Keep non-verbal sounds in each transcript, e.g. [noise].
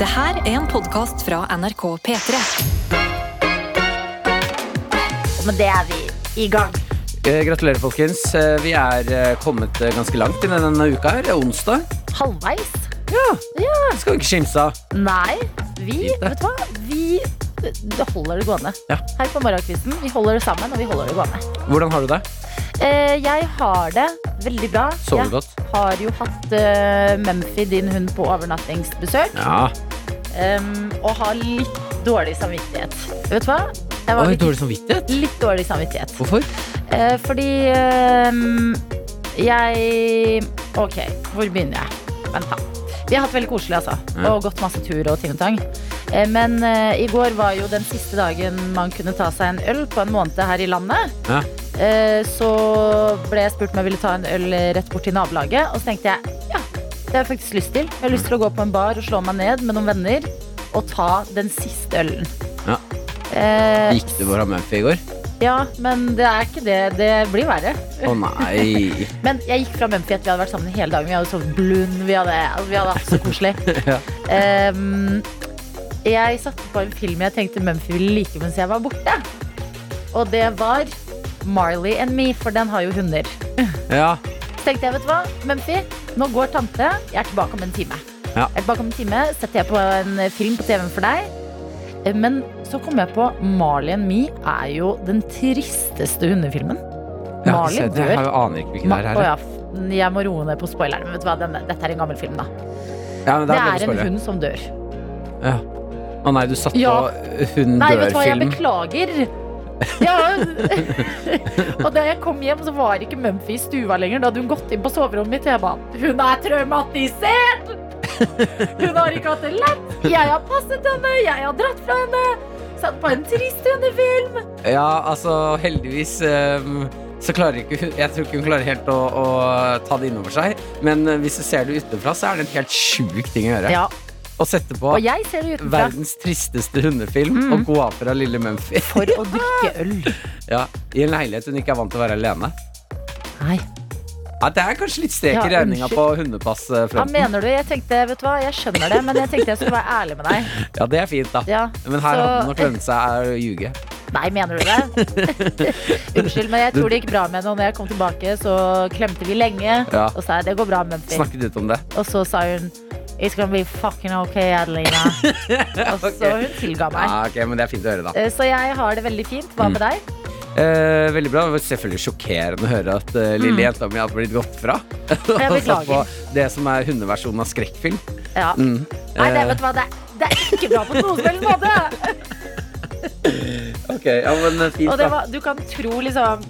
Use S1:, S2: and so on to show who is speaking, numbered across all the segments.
S1: Det her er en podkast fra NRK P3.
S2: Men det er vi i gang.
S3: Eh, Gratulerer, folkens. Eh, Vi er eh, kommet eh, ganske langt inn i denne uka her. Det er onsdag.
S2: Halvveis.
S3: Ja, Skal vi ikke skimse av.
S2: Nei, vi
S3: Fint, det.
S2: Vet du hva? Vi det holder det gående.
S3: Ja.
S2: Her på morgenkvisten. Vi holder det sammen, og vi holder det gående.
S3: Hvordan har du det?
S2: Eh, jeg har det veldig bra.
S3: Sover
S2: jeg
S3: du godt?
S2: har jo hatt eh, Mumphy, din hund, på overnattingsbesøk.
S3: Ja.
S2: em, og har litt dårlig samvittighet. Vet du hva? Jeg var
S3: Oi,
S2: litt,
S3: dårlig samvittighet.
S2: litt dårlig samvittighet.
S3: Hvorfor?
S2: Eh, fordi ehm, jeg Ok, hvor begynner jeg? Vent, da. Vi har hatt veldig koselig, altså.
S3: Ja.
S2: Og gått masse tur og ting og tang. Eh, Men eh, i går var jo den siste dagen man kunne ta seg en øl på en måned her i landet.
S3: Ja.
S2: Eh, Så ble jeg spurt om jeg ville ta en øl rett bort til nabolaget. Og så tenkte jeg ja, det har jeg faktisk lyst til. Jeg har lyst til å gå på en bar og slå meg ned med noen venner og ta den siste ølen.
S3: Ja.
S2: Eh,
S3: Gikk du for Mumphy i går?
S2: ja, men det er ikke det. Det blir verre.
S3: Å
S2: [laughs]
S3: nei.
S2: Men jeg gikk fra Mumphy at vi hadde vært sammen hele dagen. Vi hadde sovet blund. Vi hadde, altså, vi hadde hatt så koselig.
S3: [laughs] Ja.
S2: Ehm, jeg satte på en film jeg tenkte Mumphy ville like mens jeg var borte. Og det var Marley and Me, for den har jo hunder.
S3: Ja.
S2: Så tenkte jeg, vet du hva, Mumphy, nå går tante. Jeg er tilbake om en time.
S3: Ja.
S2: Jeg er tilbake om en time, setter jeg på en film på TV-en for deg. Eh, Men så kom jeg på Marley and Me er jo den tristeste hundefilmen.
S3: ja
S2: Marley
S3: se,
S2: dør.
S3: Jeg har- aner ikke hvilken det
S2: Ma-
S3: er.
S2: Å
S3: her.
S2: ja, f- jeg må roe ned på spoileren. Men vet du hva, denne, dette er en gammel film, da.
S3: Ja,
S2: Det
S3: men da
S2: er
S3: ble
S2: en
S3: det spoiler.
S2: hund som dør.
S3: Ja. Å nei, du satt på eh,
S2: Ja.
S3: Hun
S2: Nei, vet du hva, jeg
S3: dør-film.
S2: [laughs] beklager. Ja. [laughs] og da jeg kom hjem, så var ikke Mumphy i stua lenger. Da hadde hun gått inn på soverommet mitt. og Jeg bare Hun er traumatisert! [laughs] Hun har ikke hatt det lett. Jeg har passet henne. Jeg har dratt fra henne. Satt på en trist hundefilm.
S3: Ja, altså, heldigvis ehm, så klarer ikke hun Jeg tror ikke hun klarer helt å, å ta det innover seg. Men eh, hvis du ser det utenfra, så er det en helt sjuk ting å gjøre.
S2: Ja,
S3: Å sette på
S2: og jeg ser det utenfra.
S3: verdens tristeste hundefilm og gå av fra lille Mumphy
S2: For å drikke øl.
S3: [laughs]
S2: [laughs]
S3: ja, i en leilighet hun ikke er vant til å være alene.
S2: Nei.
S3: Ja, det er kanskje litt strek
S2: Ja,
S3: i regninga
S2: unnskyld.
S3: på eh, hundepassfronten.
S2: Hva mener du? Jeg tenkte, vet du hva, jeg skjønner det, men jeg tenkte jeg skulle være ærlig med deg.
S3: Ja, det er fint, da.
S2: Ja,
S3: Men her
S2: så-
S3: hadde det nok lønt seg å ljuge.
S2: Nei, mener du
S3: [laughs]
S2: det? Unnskyld, men jeg tror det gikk bra med henne. Og når jeg kom tilbake, så klemte vi lenge.
S3: Ja.
S2: Og sa jeg, det går bra, Mumphy.
S3: Snakket ut om det.
S2: Og så sa hun It's gonna be fucking ok,
S3: [laughs]
S2: Adelina. Og så hun tilga meg.
S3: Ja, Ah, Mm. ok, Men det er fint å høre, da.
S2: Eh, Så jeg har det veldig fint. Hva med deg?
S3: Eh, veldig bra. Det var selvfølgelig sjokkerende å høre at eh, lille jenta mi hadde blitt gått fra. [laughs] Og satt på
S2: Mm. beklager.
S3: det som er hundeversjonen av skrekkfilm.
S2: Ja.
S3: Mm.
S2: Nei, det,
S3: Eh,
S2: vet du hva, det er, det er ikke bra på noen som helst
S3: [laughs]
S2: måte.
S3: ok, ja, men eh,
S2: Og
S3: fint,
S2: det
S3: da.
S2: var, du kan tro liksom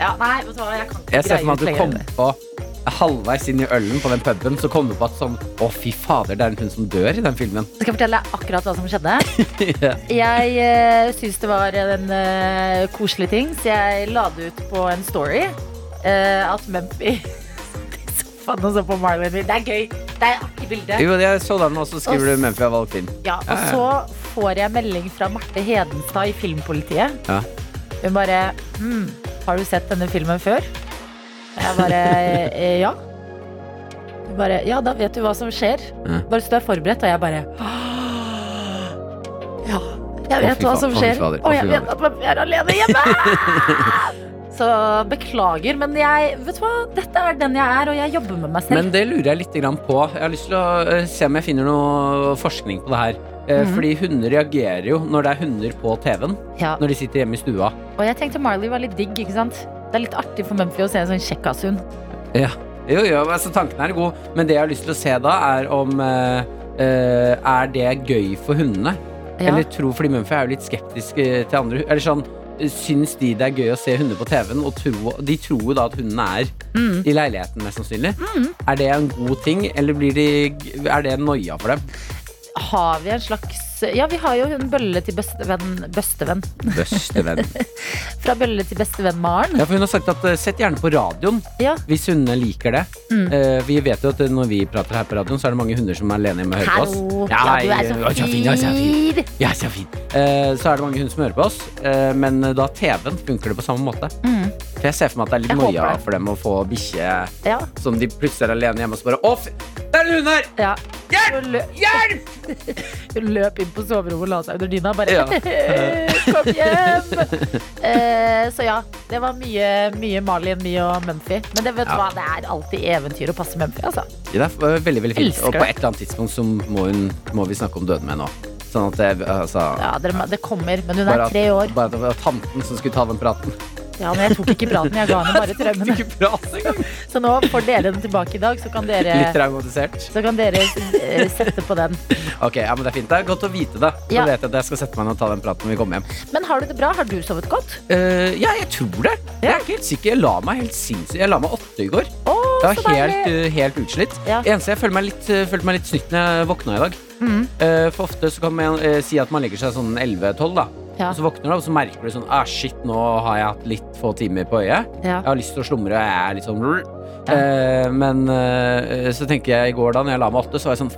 S2: ja, Nei, vet du hva, jeg kan ikke
S3: Jeg ser for
S2: greie
S3: meg at du
S2: ut
S3: kom
S2: lenger.
S3: på halvveis inn i ølen på den puben, så kom du på at sånn Å, fy fader, det er en hund som dør i den filmen.
S2: Skal jeg fortelle deg akkurat hva som skjedde?
S3: [laughs] ja.
S2: Jeg uh, syns det var en eh, koselig ting, så jeg la det ut på en story eh, at Mumphy satt i [laughs] sofaen og så på Marlon min. Det er gøy. Det er et artig bilde.
S3: Jo, jeg så den, og så skriver
S2: Og s-
S3: du Mumphy har valgt film.
S2: Ja, og
S3: ja.
S2: så får jeg melding fra Marte Hedenstad i Filmpolitiet.
S3: Ja.
S2: Hun bare hm, 'Har du sett denne filmen før?' Jeg bare [laughs] eh, 'Ja'. Hun bare 'Ja, da vet du hva som skjer'.
S3: Ja.
S2: Bare så du er forberedt. Og jeg bare Ja, jeg
S3: Å,
S2: vet
S3: fy
S2: hva
S3: faen,
S2: som
S3: å, fy
S2: skjer.
S3: fader, å,
S2: Og jeg
S3: fy
S2: vet
S3: fader.
S2: at man er alene hjemme. [laughs] Så beklager, men jeg Vet du hva, dette er den jeg er, og jeg jobber med meg selv.
S3: Men det lurer jeg litt grann på. Jeg har lyst til å eh, se om jeg finner noe forskning på det her. Eh,
S2: Mhm.
S3: Fordi hunder reagerer jo når det er hunder på TV-en.
S2: ja.
S3: Når de sitter hjemme i stua.
S2: Og jeg tenkte Marley var litt digg, ikke sant? Det er litt artig for Mumphy å se en sånn kjekkashund.
S3: Ja. Jo, jo, altså tanken er god, men det jeg har lyst til å se da, er om eh, eh, Er det gøy for hundene?
S2: Ja.
S3: Eller tror fordi Mumphy er jo litt skeptisk eh, til andre Eller sånn eh, Syns de det er gøy å se hunder på TV-en, og tro, de tror jo da at hundene er
S2: Mm.
S3: i leiligheten, mest sannsynlig. Er det en god ting, eller blir de, er det noia for dem?
S2: Har vi en slags Ja, vi har jo en bølle til bestevenn Bestevenn.
S3: Bøstevenn.
S2: Fra bølle til bestevenn Maren.
S3: [laughs] Ja, for hun har sagt at eh, sett gjerne på radioen
S2: Ja.
S3: hvis hundene liker det.
S2: Mm.
S3: Eh, vi vet jo at eh, når vi prater her på radioen, så er det mange hunder som er alene hjemme og hører på oss.
S2: Hallo. Ja, du er
S3: ja,
S2: så
S3: ja, ja, fin.
S2: fin.
S3: Ja, så fin. Eh, så er det mange hunder som hører på oss, eh, men da TV-en funker det på samme måte.
S2: Mm.
S3: For jeg ser for meg at det er litt
S2: Jeg håper
S3: noia
S2: det.
S3: for dem å få bikkje
S2: Ja.
S3: som de plutselig er alene hjemme og så bare Å, fy- der er en hund her!
S2: Ja. Hun løp,
S3: Hjelp!
S2: hun løp inn på soverommet og la seg under dyna og bare
S3: Ja.
S2: [laughs] Kom hjem! Eh, så ja, det var mye, mye Malin, mye og Mumphy. Men det, vet du
S3: Ja.
S2: hva, det er alltid eventyr å passe Mumphy, altså.
S3: Det er eh, veldig, veldig fint.
S2: Elsker
S3: Og på
S2: det.
S3: et eller annet tidspunkt så må, hun, må vi snakke om døden med nå. Sånn at jeg, altså
S2: Ja, det, det kommer, men hun er
S3: bare at,
S2: tre år.
S3: bare at det var tanten som skulle ta den
S2: [laughs]
S3: praten.
S2: Ja, men jeg tok ikke praten, jeg ga henne bare traumen.
S3: [laughs] Ikke prat engang!
S2: Så nå får dere den tilbake i dag, så kan
S3: Litt
S2: dere,
S3: traumatisert.
S2: så kan dere eh, sette på den.
S3: Ok, ja, men Det er fint. Det er godt å vite det. Da
S2: Ja.
S3: vet jeg at jeg skal sette meg ned og ta den praten når vi kommer hjem.
S2: Men har du det bra? Har du sovet godt?
S3: Eh, ja, jeg tror det. Jeg er ikke helt sikker. Jeg la meg helt sinnssykt. Jeg la meg åtte i går.
S2: Å,
S3: Jeg
S2: så
S3: var helt,
S2: deilig!
S3: eh, helt utslitt.
S2: Ja.
S3: Eneste jeg føler meg litt, eh, følte meg litt snytt når jeg våkna i dag.
S2: Mhm.
S3: Eh, for ofte så kan man eh, si at man legger seg sånn 11-12, da.
S2: Ja.
S3: Og så våkner du, og så merker du sånn ah, shit, nå har jeg hatt litt få timer på øyet.
S2: Ja.
S3: Jeg har lyst til å slumre, og jeg er litt sånn rrr.
S2: Ja.
S3: Eh, Men eh, så tenker jeg i går da når jeg la meg åtte, så var jeg sånn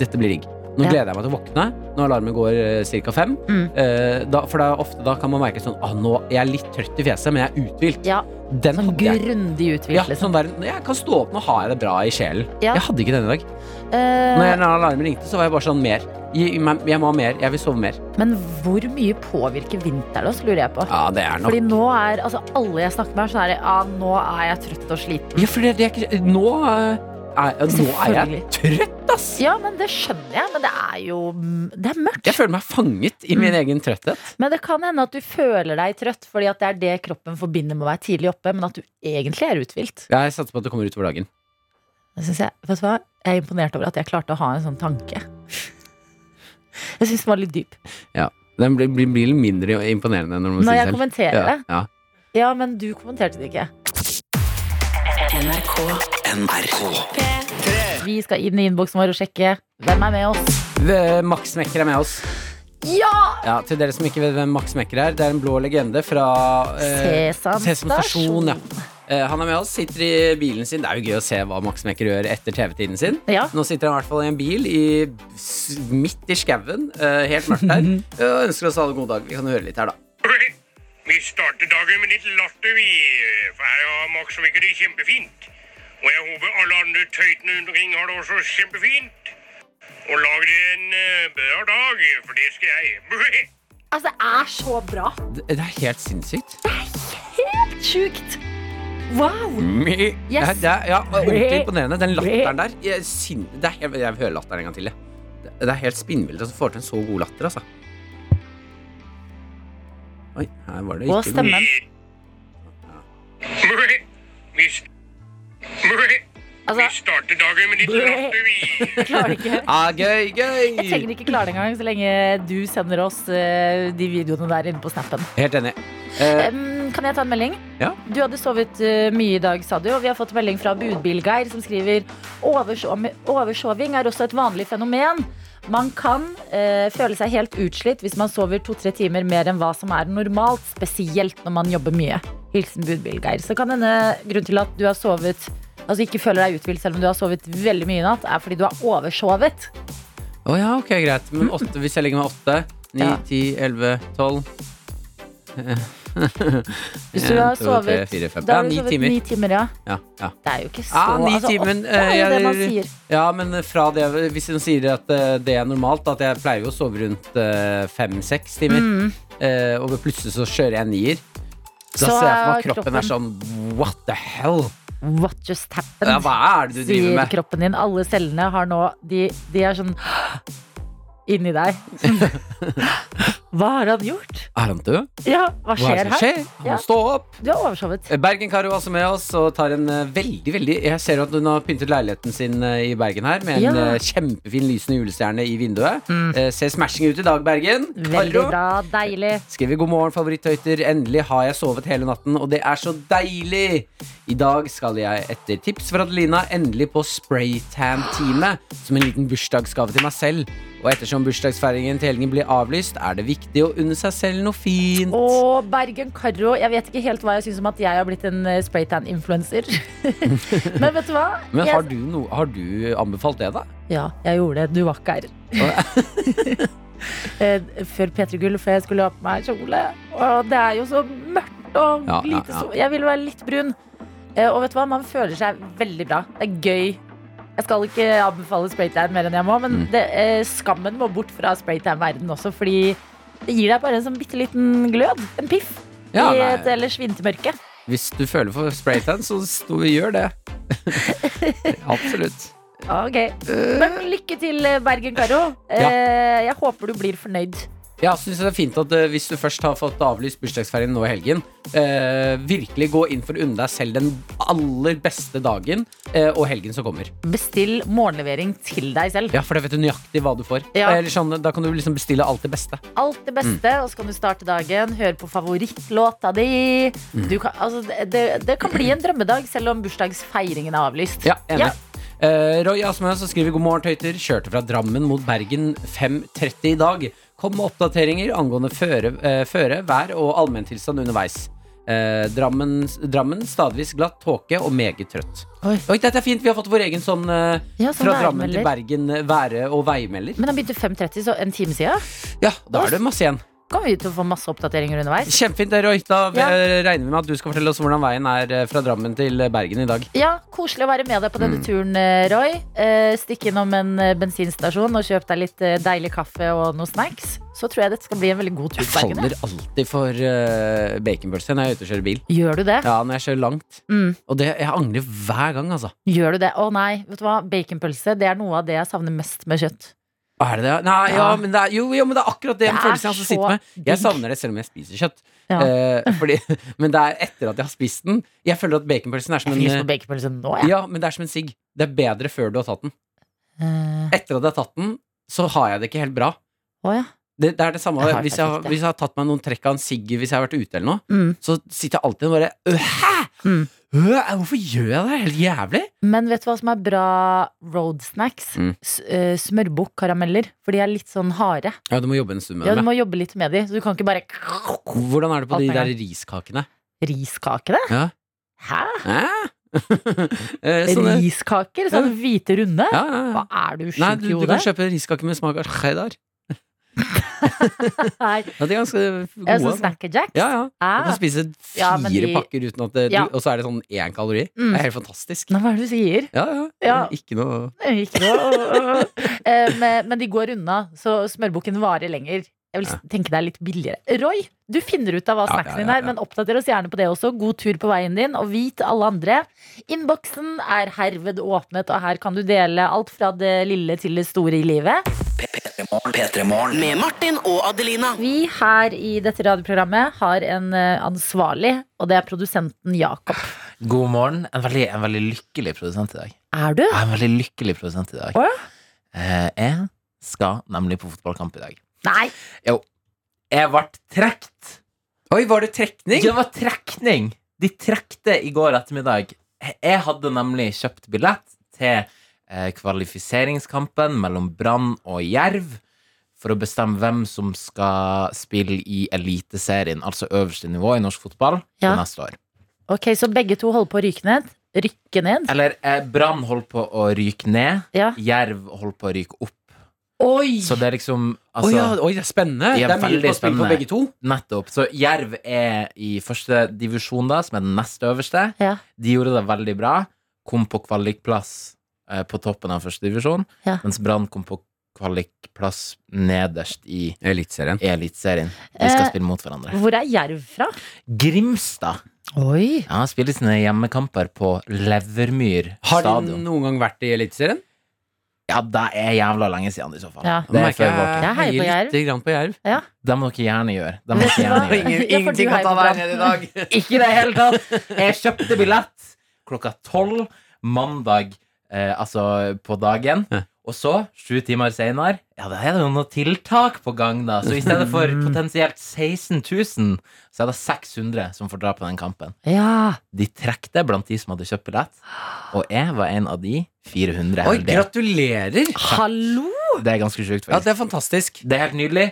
S3: Dette blir digg. Nå
S2: Ja.
S3: gleder jeg meg til å våkne når alarmen går eh, ca. fem.
S2: Mm.
S3: Eh, da, for da, ofte da kan man merke sånn ah, nå, Jeg er litt trøtt i fjeset, men jeg er uthvilt.
S2: ja.
S3: Den
S2: Sånn
S3: hadde jeg.
S2: grundig
S3: Ja,
S2: uthvilt, liksom.
S3: sånn der, jeg kan stå opp, nå har jeg det bra i sjelen.
S2: Ja.
S3: Jeg hadde ikke den i dag.
S2: Eh,
S3: Når jeg- når alarmen ringte, så var jeg bare sånn mer. Gi meg- Jeg må ha mer. Jeg vil sove mer.
S2: men hvor mye påvirker vinteren oss, lurer jeg på.
S3: Ja, det er nok.
S2: Fordi nå er altså, alle jeg snakker med, er sånn her Ja, nå er jeg trøtt og sliten.
S3: Ja, for det, det er ikke Nå eh, er, nå er jeg trøtt, ass!
S2: Ja, men det skjønner jeg. Men det er jo mm, Det er mørkt.
S3: Jeg føler meg fanget i
S2: Mm.
S3: min egen trøtthet.
S2: Men det kan hende at du føler deg trøtt, fordi at det er det kroppen forbinder med å være tidlig oppe, men at du egentlig er uthvilt.
S3: Jeg satser på at det kommer utover dagen.
S2: Det synes jeg, vet du hva? jeg er imponert over at jeg klarte å ha en sånn tanke. [laughs] Jeg syns den var litt dyp.
S3: Den blir, blir, blir litt mindre imponerende når man
S2: Når jeg
S3: sier det selv.
S2: kommenterer
S3: Ja,
S2: det
S3: ja.
S2: Ja, men du kommenterte det ikke. Vi skal inn i innboksen vår og sjekke hvem er med oss.
S3: V- Max Mekker er med oss.
S2: Ja!
S3: Ja, til dere som ikke vet hvem Max Mekker er, det er en blå legende fra eh,
S2: Sesam
S3: Sesam stasjon.
S2: stasjon.
S3: Ja. Eh, han er med oss, sitter i bilen sin. Det er jo gøy å se hva Max Mekker gjør etter TV-tiden sin.
S2: Ja.
S3: Nå sitter han i hvert fall i en bil i, s- midt i skauen, eh, helt mørkt [laughs] her, og ønsker oss alle god dag. Vi kan høre litt her, da.
S4: Vi starter dagen med litt latter, vi. For her har Max og Vigge det kjempefint. Og jeg håper alle andre tøytene rundt omkring har det også kjempefint. Og lag dere en eh, bra dag, for det skal jeg.
S2: Altså, det er så bra.
S3: Det, det er helt sinnssykt.
S2: Helt sjukt. Wow.
S3: Yes. Det er, det er, ja, ordentlig imponerende. Den latteren der. Jeg, sin, det er, helt- jeg vil høre latteren en gang til. jeg. Det, det er helt spinnvilt at du får til en så god latter, altså. Oi, her var det
S2: Og
S3: ikke noe-
S2: stemmen.
S4: Vi, s- vi
S2: Altså,
S4: starter dagen med litt latter, vi.
S2: jeg klarer ikke.
S3: Ah, gøy,
S2: Jeg trenger
S3: gøy!
S2: ikke klare det engang, så lenge du sender oss eh, de videoene der inne på snappen.
S3: Helt enig. Eh,
S2: Em, kan jeg ta en melding?
S3: Ja.
S2: Du hadde sovet eh, mye i dag, sa du, og vi har fått melding fra Budbilgeir som skriver «Oversov- Oversoving er også et vanlig fenomen. Man kan eh, føle seg helt utslitt hvis man sover to-tre timer mer enn hva som er normalt, spesielt når man jobber mye. Hilsen Budbilgeir. Så kan denne grunnen til at du har sovet Altså ikke føler deg uthvilt selv om du har sovet veldig mye i natt, er fordi du har oversovet.
S3: Å ja, ok, greit. Men åtte, hvis jeg legger meg åtte, ni,
S2: Ja.
S3: ti, elleve, tolv
S2: Hvis du har sovet
S3: fire, fem.
S2: Da
S3: Ja,
S2: har du
S3: ni
S2: sovet
S3: timer.
S2: ni timer, ja.
S3: Ja, ja.
S2: Det er jo ikke så
S3: Ja, ni
S2: altså,
S3: timer,
S2: åtte er jo
S3: eh,
S2: det man
S3: jeg-
S2: sier.
S3: Ja, men fra det Hvis hun sier at eh, det er normalt, at jeg pleier jo å sove rundt fem-seks timer,
S2: Mm.
S3: eh, og plutselig så kjører jeg nier, da
S2: Så
S3: ser jeg for meg at
S2: er
S3: kroppen, er sånn What the hell?
S2: What just happened?
S3: Ja, hva er det du driver
S2: sier
S3: med?
S2: kroppen din. Alle cellene har nå De, de er sånn inni deg. [laughs] Hva har han gjort?
S3: Er han død?
S2: Ja, hva
S3: Hva er
S2: skjer
S3: det som
S2: her?
S3: skjer? Han
S2: Ja.
S3: må stå opp.
S2: Du har oversovet.
S3: Eh, Bergen Karo er også med oss og tar en eh, veldig, veldig Jeg ser at hun har pyntet leiligheten sin eh, i Bergen her med en
S2: Ja. Mm.
S3: eh, kjempefin lysende julestjerne i vinduet. Eh, Ser smashing ut i dag, Bergen.
S2: Veldig bra. Deilig.
S3: Skriver god morgen, favorittøyter. Endelig har jeg sovet hele natten, og det er så deilig! I dag skal jeg etter tips fra Adelina endelig på spraytan-time som en liten bursdagsgave til meg selv. Og ettersom bursdagsfeiringen til helgen blir avlyst, er det viktig å unne seg selv noe fint.
S2: Og Bergen Karro. Jeg vet ikke helt hva jeg syns om at jeg har blitt en eh, spraytan-influencer. [laughs] Men vet du hva?
S3: Men
S2: Jeg-
S3: har du, no, har du anbefalt det, da?
S2: [laughs] Ja, jeg gjorde det. Du var ikke her. Eh, Før P3 Gull, for jeg skulle ha på meg kjole. Og det er jo så mørkt og
S3: Ja, ja,
S2: lite
S3: ja.
S2: sol. Jeg ville være litt brun. Eh, Og vet du hva, man føler seg veldig bra. Det er gøy Jeg skal ikke anbefale spraytan mer enn jeg må,
S3: Mm.
S2: men det, eh, skammen må bort fra spraytan-verdenen også, fordi det gir deg bare en sånn bitte liten glød. En piff.
S3: Ja,
S2: I
S3: nei.
S2: et ellers vintermørke.
S3: Hvis du føler for spraytan, så stå, gjør [laughs] det. Absolutt.
S2: Ok. Men lykke til, eh, Bergen Karo.
S3: Ja.
S2: Eh, Jeg håper du blir fornøyd.
S3: Ja, synes jeg det er fint at eh, Hvis du først har fått avlyst bursdagsferien nå i helgen, eh, virkelig gå inn for å unne deg selv den aller beste dagen eh, og helgen som kommer.
S2: Bestill morgenlevering til deg selv.
S3: Ja, For da vet du nøyaktig hva du får.
S2: Ja.
S3: Eller sånn, da kan du liksom bestille alt det beste.
S2: Alt det beste,
S3: Mm.
S2: og så kan du starte dagen. Høre på favorittlåta di.
S3: Mm.
S2: Du kan, altså, det, det- det kan bli en drømmedag, selv om bursdagsfeiringen er avlyst.
S3: Ja, enig.
S2: Ja.
S3: Eh, Roy Asmø som skriver god morgen, tøyter. Kjørte fra Drammen mot Bergen 5.30 i dag. Kom med oppdateringer angående føre, eh, føre vær og allmenntilstand underveis. Eh, Drammen, Drammen stadvis glatt tåke og meget trøtt.
S2: Oi.
S3: Oi, dette er fint. Vi har fått vår egen sånn eh,
S2: Ja, sånn
S3: fra Drammen til
S2: værmelder.
S3: Bergen eh, være- og veimelder.
S2: Men han begynte 5.30, så en time siden.
S3: Ja, da er det masse igjen.
S2: Kommer vi til å få masse oppdateringer underveis?
S3: Kjempefint, det, Roy. Da
S2: Ja.
S3: eh, regner vi med at du skal fortelle oss hvordan veien er eh, fra Drammen til eh, Bergen i dag.
S2: Ja, Koselig å være med deg på
S3: Mm.
S2: denne turen, eh, Roy. Eh, stikk innom en eh, bensinstasjon og kjøp deg litt eh, deilig kaffe og noen snacks. Så tror jeg dette skal bli en veldig god tur.
S3: Jeg
S2: til Bergen,
S3: faller alltid for eh, baconpølse når jeg er ute og kjører bil.
S2: jeg. Gjør du det?
S3: Ja, når jeg kjører langt.
S2: Mm.
S3: Og det, jeg angrer hver gang, altså.
S2: Gjør du det? Å nei, vet du hva? Baconpølse det er noe av det jeg savner mest med kjøtt.
S3: Er det det? Nei, ja,
S2: Ja.
S3: men det er, jo, jo, men det er akkurat
S2: Det
S3: det, den
S2: er
S3: følelsen jeg også
S2: så
S3: sitter med. Jeg
S2: digg.
S3: savner det selv om jeg spiser kjøtt.
S2: Ja.
S3: Eh, fordi, [laughs] men det er etter at jeg har spist den. Jeg føler at baconpølsen er som
S2: Jeg fikk
S3: en
S2: lyst på
S3: eh,
S2: baconpølse nå, jeg.
S3: Ja, men det er som en sigg. Det er bedre før du har tatt den.
S2: Eh,
S3: Etter at jeg har tatt den, så har jeg det ikke helt bra.
S2: Å ja.
S3: Det, det er det samme
S2: Jeg har
S3: hvis
S2: faktisk
S3: jeg, har-
S2: det.
S3: hvis jeg har tatt meg noen trekk av en sigg hvis jeg har vært ute eller noe.
S2: Mm.
S3: Så sitter jeg alltid og bare «Øh, Hæ?
S2: Mm.
S3: Øh, hvorfor gjør jeg det? Helt jævlig.
S2: Men vet du hva som er bra road snacks?
S3: Mm.
S2: S- eh, Smørbukkarameller. For de er litt sånn harde.
S3: Ja, du må jobbe en stund med
S2: Ja,
S3: det.
S2: du må jobbe litt med de, så du kan ikke bare
S3: Hvordan er det på
S2: Alt
S3: de
S2: med en
S3: der riskakene?
S2: Riskakene?
S3: Ja.
S2: Hæ?
S3: Hæ? [laughs] Eh, sånne,
S2: Riskaker? Sånne hvite runde?
S3: ja, ja, ja.
S2: Hva er du
S3: Nei,
S2: sjuk
S3: du,
S2: i
S3: du kan
S2: hodet?
S3: kjøpe riskake med smak av cheddar.
S2: Nei,
S3: Ja, de er ganske
S2: jeg er sånn
S3: gode. altså.
S2: Snacker Jacks?
S3: Ja, ja. Du
S2: Ah.
S3: kan spise fire
S2: Ja, men de-
S3: pakker uten at det
S2: Ja.
S3: du, Og så er det sånn én kalori.
S2: Mm.
S3: Det er helt fantastisk.
S2: Nei, hva er det du sier?
S3: Ja, ja.
S2: Ja.
S3: Ikke noe
S2: Eh, Ikke noe. Eh, men, men de går unna, så smørbukken varer lenger. Jeg vil s- tenke det er litt billigere. Roy, du finner ut av hva
S3: Ja,
S2: snacksen
S3: ja,
S2: din
S3: ja,
S2: er,
S3: ja.
S2: men oppdater oss gjerne på det også. God tur på veien din, og vit alle andre. Innboksen er herved åpnet, og her kan du dele alt fra det lille til det store i livet.
S5: Med Martin og Adelina.
S2: Vi her i dette radioprogrammet har en eh, ansvarlig, og det er produsenten Jakob.
S6: God morgen. En veldig, en veldig lykkelig produsent i dag.
S2: Er du?
S6: Jeg er en veldig lykkelig produsent i dag.
S2: Å,
S6: Eh, Jeg skal nemlig på fotballkamp i dag.
S2: Nei.
S6: Jeg ble trukket.
S3: Oi, var det trekning?
S6: Det var trekning! De trekte i går ettermiddag. Jeg hadde nemlig kjøpt billett til eh, kvalifiseringskampen mellom Brann og Jerv for å bestemme hvem som skal spille i Eliteserien, altså øverste nivå i norsk fotball,
S2: Ja.
S6: for neste år.
S2: Ok, så begge to holder på å ryke ned. Rykke ned?
S6: Eller eh, Brann holdt på å ryke ned.
S2: Ja.
S6: Jerv holdt på å ryke opp.
S3: Oi!
S6: Så det er liksom
S3: Oi,
S6: altså,
S3: ja, oi, det er spennende.
S6: Ja,
S3: det er mye
S6: veldig
S3: på spill for
S6: spennende.
S3: begge to.
S6: Nettopp. Så Jerv er i første divisjon, da, som er den nest øverste.
S2: Ja.
S6: De gjorde det veldig bra. Kom på kvalikplass eh, på toppen av første divisjon,
S2: Ja.
S6: mens Brann kom på kvalikplass nederst i
S3: Eliteserien.
S6: Eliteserien. De skal
S2: Eh.
S6: spille mot hverandre.
S2: Hvor er Jerv fra?
S6: Grimstad
S2: Oi.
S6: ja, spiller sine hjemmekamper på Levermyr
S3: Har de
S6: stadion.
S3: noen gang vært i Eliteserien?
S6: Ja, det er jævla lenge siden, i så fall.
S2: Ja.
S6: Det er før vår tid.
S2: Jeg heier på Jerv.
S3: Lite grann på Jerv.
S2: Ja.
S6: Det må dere gjerne gjøre. Det må
S2: Vet du
S6: dere
S2: [laughs]
S6: gjerne
S2: hva?
S6: gjøre.
S2: [laughs] Ja, for du heier på Brann.
S3: i dag.
S6: Ikke i det hele tatt! Jeg kjøpte billett klokka tolv mandag, eh, altså på dagen.
S3: Ja.
S6: Og så, sju timer seinere, ja, da er det jo noe tiltak på gang, da. Så i stedet
S3: [laughs]
S6: for potensielt 16 000, så er det 600 som får dra på den kampen.
S2: Ja.
S6: De trekte blant de som hadde kjøpt billett, og jeg var en av de 400
S3: Oi,
S6: heldige.
S3: gratulerer!
S2: Hallo!
S6: Det er ganske sjukt,
S3: Ja,
S6: faktisk.
S3: det er fantastisk.
S6: Det er helt nydelig.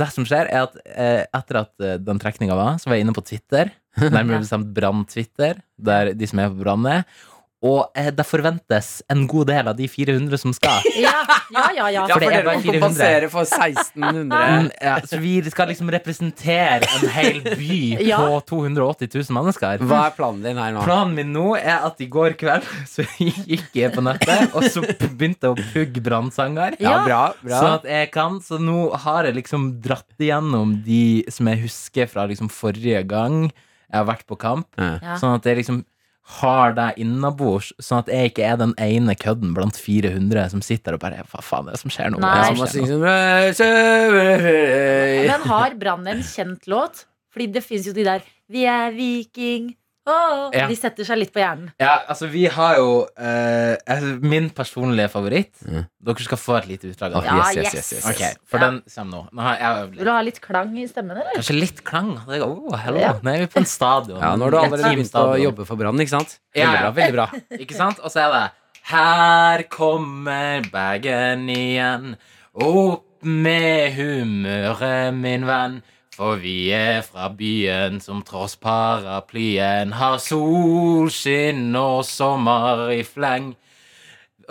S6: Det som skjer, er at eh, etter at eh, den
S3: [laughs]
S6: trekninga var, så var jeg inne på Twitter. Nærmere bestemt Brann-Twitter, der de som er på Brann er. Og eh, det forventes en god del av de 400 som
S3: [laughs]
S6: skal.
S2: Ja, ja, ja. ja.
S3: Ja, for
S6: det er
S3: dere
S6: bare
S3: må kompensere for 1600.
S6: Mm, ja, så vi skal liksom representere en hel by
S3: [laughs]
S2: Ja.
S6: på 280 000 mennesker.
S3: Hva er planen din her nå?
S6: Planen min nå er at i går kveld så gikk jeg på nettet, og så begynte jeg å pugge brannsanger.
S3: Ja, bra, bra.
S6: Sånn at jeg kan. Så nå har jeg liksom dratt igjennom de som jeg husker fra liksom forrige gang jeg har vært på kamp.
S3: Ja.
S2: Ja.
S6: Sånn at jeg liksom har deg innabords, sånn at jeg ikke er den ene kødden blant 400 som sitter og bare Hva faen er det som skjer nå?
S2: Nei.
S6: Hva er
S3: Ja,
S6: det
S3: man
S6: som skjer nå?
S3: synger sånn
S2: Men har Brann en kjent låt? Fordi det fins jo de der Vi er viking Åh,
S6: Ja.
S2: De setter seg litt på hjernen.
S6: Ja, altså, vi har jo eh, altså, Min personlige favoritt. Dere skal få et lite utdrag av den.
S2: Ja,
S3: yes, yes, yes, yes, yes.
S6: Ok, For
S2: Ja.
S6: den kommer nå. nå har jeg øvd litt.
S2: Vil du ha litt klang i stemmen, eller?
S6: Kanskje litt klang. hadde jeg- Åh, hello.
S2: Ja.
S6: Nå er vi på en stadion.
S3: Ja, nå har du allerede
S6: Et
S3: begynt å
S6: teamstadion.
S3: jobbe for Brann, ikke sant?
S6: Ja,
S3: Veldig bra,
S6: ja.
S2: [laughs]
S3: veldig bra.
S6: [laughs] Ikke sant? Og så er det Her kommer bagen igjen. Opp med humøret, min venn. For vi er fra byen som tross paraplyen har solskinn og sommer i fleng.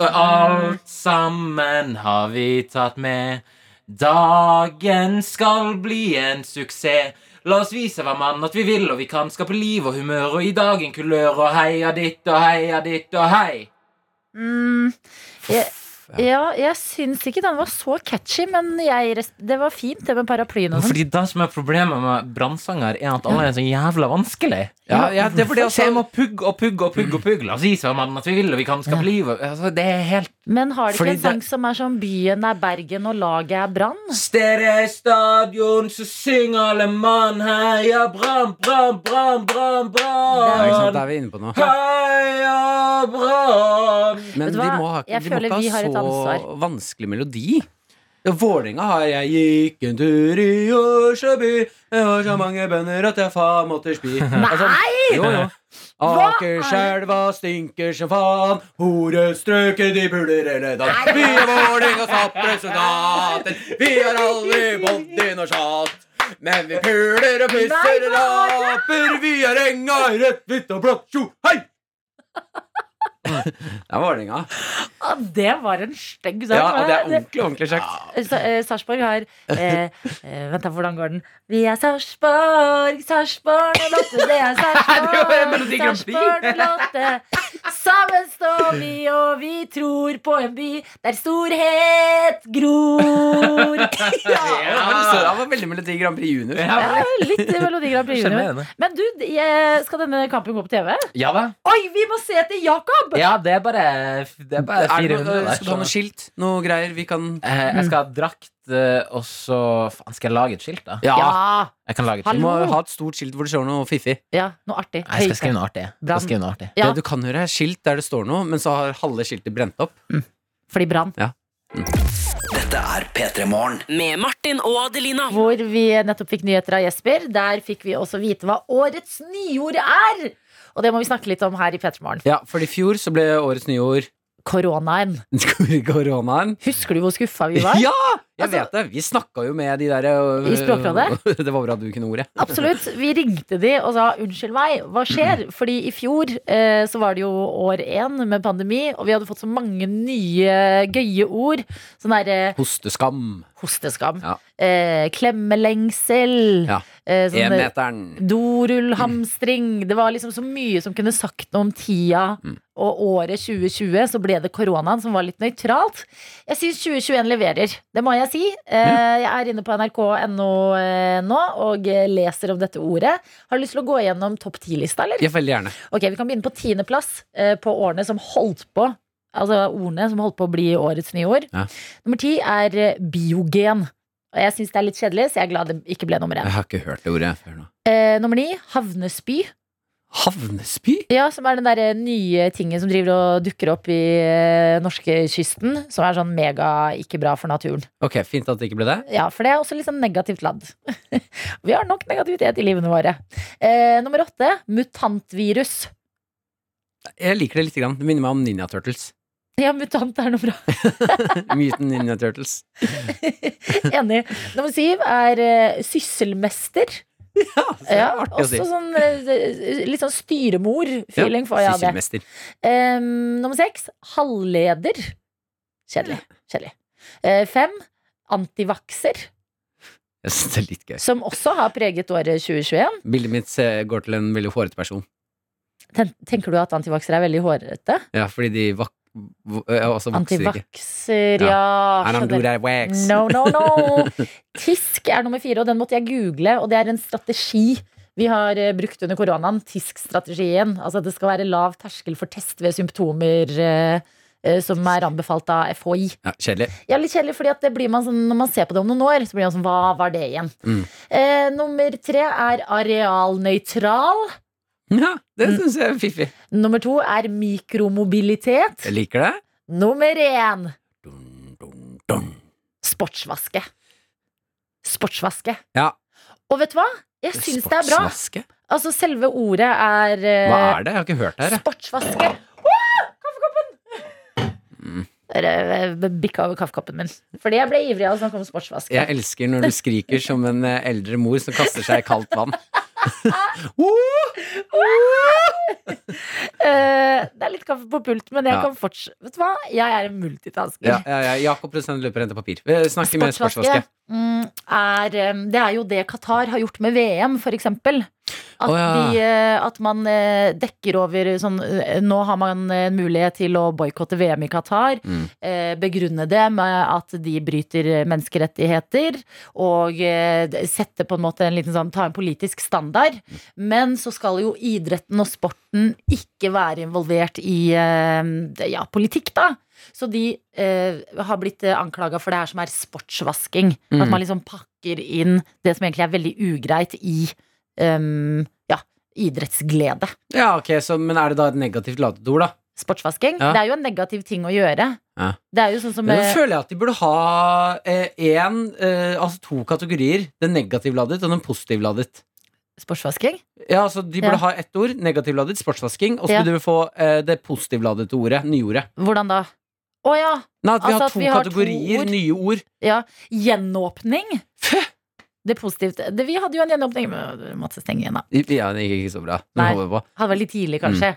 S6: Og alt sammen har vi tatt med. Dagen skal bli en suksess. La oss vise hver mann at vi vil og vi kan skape liv og humør, og i dagen kulør og heia ditt og heia ditt og hei.
S2: Mm, jeg, ja, jeg syns ikke den var så catchy, men jeg, res- det var fint, det med paraplyen og sånn.
S6: Fordi det som er problemet med brannsanger, er at alle er så jævla vanskelig.
S3: Ja, ja, det er fordi
S6: Så
S3: altså
S6: jeg må pugge og pugge og pugge og pugge. La oss vise hver mann at vi vil og vi kan skape liv. og- Altså, det er helt
S2: Men har det
S3: Fordi
S2: ikke en sang som er sånn 'Byen er Bergen og laget er Brann'?
S6: Stere stadion, så syng alle mann. Heia Brann, Brann, Brann, Brann,
S3: ja, ikke sant,
S6: Brann.
S3: Det er vi inne på nå.
S6: Heia Brann.
S3: Men
S2: Vet du
S3: de
S2: hva?
S3: må ha, ikke-
S2: Jeg
S3: de må
S2: føler vi
S3: ikke
S2: har
S3: ha
S2: et
S3: så
S2: ansvar.
S3: vanskelig melodi. Ja, Vålerenga har jeg gikk en tur i Åsjøby. Jeg har så mange bønder at jeg faen måtte spy.
S2: [laughs]
S3: Altså,
S2: Nei!
S3: Jo, jo.
S2: Hva er det?
S3: Akerselva stinker som faen. Horestrøket de puler hele dagen. Vi er Vålerengas representanter. Vi har aldri bodd i noe sjatt. Men vi puler og
S2: Nei,
S3: pusser og
S2: hva
S3: raper. Vi er enga i rødt, hvitt og blått. Tjo, hei! [laughs] Det er Vålerenga.
S2: Ah, Det var en stygg sang.
S3: Ja,
S2: var
S3: og det er
S2: det?
S3: ordentlig, ordentlig kjekt.
S2: Sa- eh, Sarpsborg har eh, eh, Vent da, hvordan går den? Vi er Sarpsborg, Sarpsborg og Lotte, det [laughs] er
S6: Det var jo
S2: Sarpsborg,
S6: Melodi Grand Prix.
S2: Sarpsborg og Lotte. Sammen står vi, og vi tror på en by der storhet [laughs] gror.
S3: Ja, det var- det var veldig Melodi Grand Prix Junior.
S2: Ja, litt Melodi Grand Prix junior.
S6: Sjarmerende.
S2: Men du, jeg, skal denne kampen gå på TV?
S6: Ja da.
S2: Oi, vi må se etter Jakob!
S6: Ja, det er bare, det er bare
S3: Er det
S6: 400
S3: noe,
S6: der,
S3: skal du ha noe
S6: så-
S3: skilt? Noe greier vi kan
S6: Eh, Jeg skal ha drakt, eh, og så Faen, skal jeg lage et skilt, da?
S2: Ja.
S6: Jeg kan lage et
S2: Hallo.
S3: Du
S6: skilt.
S3: må ha et stort skilt hvor det står noe fiffig.
S2: ja, noe artig.
S6: Nei, Jeg skal skrive noe artig. Jeg skal
S2: Brann.
S6: skrive noe artig.
S2: Ja.
S3: Det du kan gjøre, er skilt der det står noe, men så har halve skiltet brent opp.
S2: Fordi brann.
S5: Dette er P3 Morgen. Med Martin og Adelina.
S2: hvor vi nettopp fikk nyheter av Jesper. Der fikk vi også vite hva årets nyord er. Og det må vi snakke litt om her i Petermorgen.
S3: Ja, for i fjor så ble årets nyord
S2: Koronaen.
S3: [laughs] koronaen.
S2: Husker du hvor skuffa vi
S3: [laughs] Ja!
S2: var?
S3: Jeg
S2: Altså-
S3: vet det! Vi snakka jo med de der øh,
S2: I Språkrådet?
S3: [laughs] Det var bra du kunne ordet.
S2: Absolutt. Vi ringte de og sa unnskyld meg, hva skjer? Fordi i fjor eh, så var det jo år én med pandemi, og vi hadde fått så mange nye gøye ord. Sånn derre eh,
S3: Hosteskam.
S2: hosteskam,
S3: Ja.
S2: eh, klemmelengsel,
S3: Ja.
S2: eh, sånn der-
S3: Enmeteren.
S2: Dorullhamstring.
S3: Mm.
S2: Det var liksom så mye som kunne sagt noe om tida og året 2020. Så ble det koronaen som var litt nøytralt. Jeg syns 2021 leverer. Det må jeg si. Eh, Jeg er inne på nrk.no eh, nå og eh, leser om dette ordet. Har du lyst til å gå gjennom topp ti-lista, eller?
S3: Ja, veldig gjerne.
S2: Ok, Vi kan begynne på tiendeplass eh, på årene som holdt på. Altså ordene som holdt på å bli årets nye ord.
S3: Ja.
S2: Nummer ti er eh, biogen. Og jeg syns det er litt kjedelig, så jeg er glad det ikke ble nummer én.
S3: Jeg har ikke hørt det ordet før nå.
S2: Eh, nummer ni havnespy.
S3: Havnespy?
S2: Ja, som er den der eh, nye tingen som driver og dukker opp i eh, norskekysten. Som er sånn mega ikke bra for naturen.
S3: Ok, fint at det ikke ble det.
S2: Ja, For det er også litt sånn negativt ladd. [laughs] Vi har nok negativitet i livene våre. Eh, nummer åtte mutantvirus.
S3: Jeg liker det lite grann. Det minner meg om Ninja Turtles. [laughs]
S2: Ja, mutant er noe bra. [laughs]
S3: Myten Ninja Turtles. [laughs]
S2: Enig. Nummer syv er eh, sysselmester. Ja,
S3: artig å si.
S2: også sånn eh, litt sånn styremor-feeling får jeg av det.
S3: Sysselmester.
S2: Em, nummer seks halvleder. Kjedelig. Kjedelig. Eh, fem antivakser,
S3: Jeg synes det er litt gøy.
S2: som også har preget året 2021.
S3: Bildet mitt eh, går til en veldig hårete person.
S2: Ten tenker du at antivaksere er veldig hårete?
S3: Ja, fordi de vak... v- ø, Altså vokser ikke.
S2: Antivakser, ja.
S3: And I'm
S2: skjønner.
S3: blue that wax.
S2: No, no, no. Tisk er nummer fire, og den måtte jeg google. Og det er en strategi vi har eh, brukt under koronaen. Tisk-strategien. Altså at det skal være lav terskel for test ved symptomer eh, eh, som er anbefalt av FHI.
S3: Ja, kjedelig.
S2: Ja, litt kjedelig, fordi at det blir man sånn, Når man ser på det om noen år, så blir man sånn Hva var det igjen?
S3: Mm.
S2: Eh, nummer tre er arealnøytral.
S3: [laughs] Ja, det syns jeg er fiffig.
S2: Nummer to er mikromobilitet.
S3: Jeg liker det.
S2: Nummer én
S3: Dun, dun, dun.
S2: sportsvaske. Sportsvaske.
S3: Ja.
S2: Og vet du hva? Jeg syns det er bra.
S3: Sportsvaske?
S2: Altså, selve ordet er eh,
S3: Hva er det? Jeg har ikke hørt det her. jeg.
S2: Sportsvaske. Åh, Kaffekoppen!
S3: Mm.
S2: Dere bikka over kaffekoppen min. Fordi jeg ble ivrig av å snakke om sportsvaske.
S3: Jeg
S2: [laughs]
S3: elsker når du skriker som en eh, eldre mor som kaster seg i kaldt vann. Oh,
S2: [laughs] Eh, det er litt kaffe på pult, men jeg
S3: Ja.
S2: kan fortsette. Vet du hva? Jeg er en multitasker.
S3: ja, ja, ja. Jakob produsent løper og henter papir. Eh, Snakker med sportsvaske.
S2: mm, er, eh, det er jo det Qatar har gjort med VM, for eksempel. At,
S3: Å, ja.
S2: de, eh, at man eh, dekker over sånn eh, Nå har man eh, mulighet til å boikotte VM i Qatar.
S3: Mm.
S2: Eh, begrunne det med at de bryter eh, menneskerettigheter. Og eh, sette på en måte en liten sånn Ta en politisk standard. Men så skal jo idretten og sporten ikke være involvert i eh, det- ja, politikk, da. Så de eh, har blitt anklaga for det her som er sportsvasking.
S3: Mm.
S2: At man liksom pakker inn det som egentlig er veldig ugreit i eh, ja, idrettsglede.
S3: Ja, ok, så, Men er det da et negativt ladet ord, da?
S2: Sportsvasking.
S3: Ja.
S2: Det er jo en negativ ting å gjøre.
S3: Ja.
S2: Det er jo sånn som
S3: Men
S2: eh,
S3: Da føler jeg at de burde ha én, altså to kategorier. Den negativladet og den positivladet.
S2: sportsvasking.
S3: Ja, altså De
S2: Ja.
S3: burde ha ett ord, negativladet, sportsvasking, og så
S2: Ja.
S3: burde vi få eh, det positivladete ordet, nyordet.
S2: Hvordan da? Å ja!
S3: Nei, at vi
S2: Altså
S3: har
S2: at
S3: to
S2: vi har to
S3: kategorier,
S2: ord.
S3: nye ord.
S2: Gjenåpning. Det er positivt. Det, vi hadde jo en gjenåpning, men vi måtte stenge igjen, da.
S3: Ja, det gikk ikke så bra. Den
S2: Nei.
S3: holder vi på.
S2: Hadde vært litt tidlig, kanskje.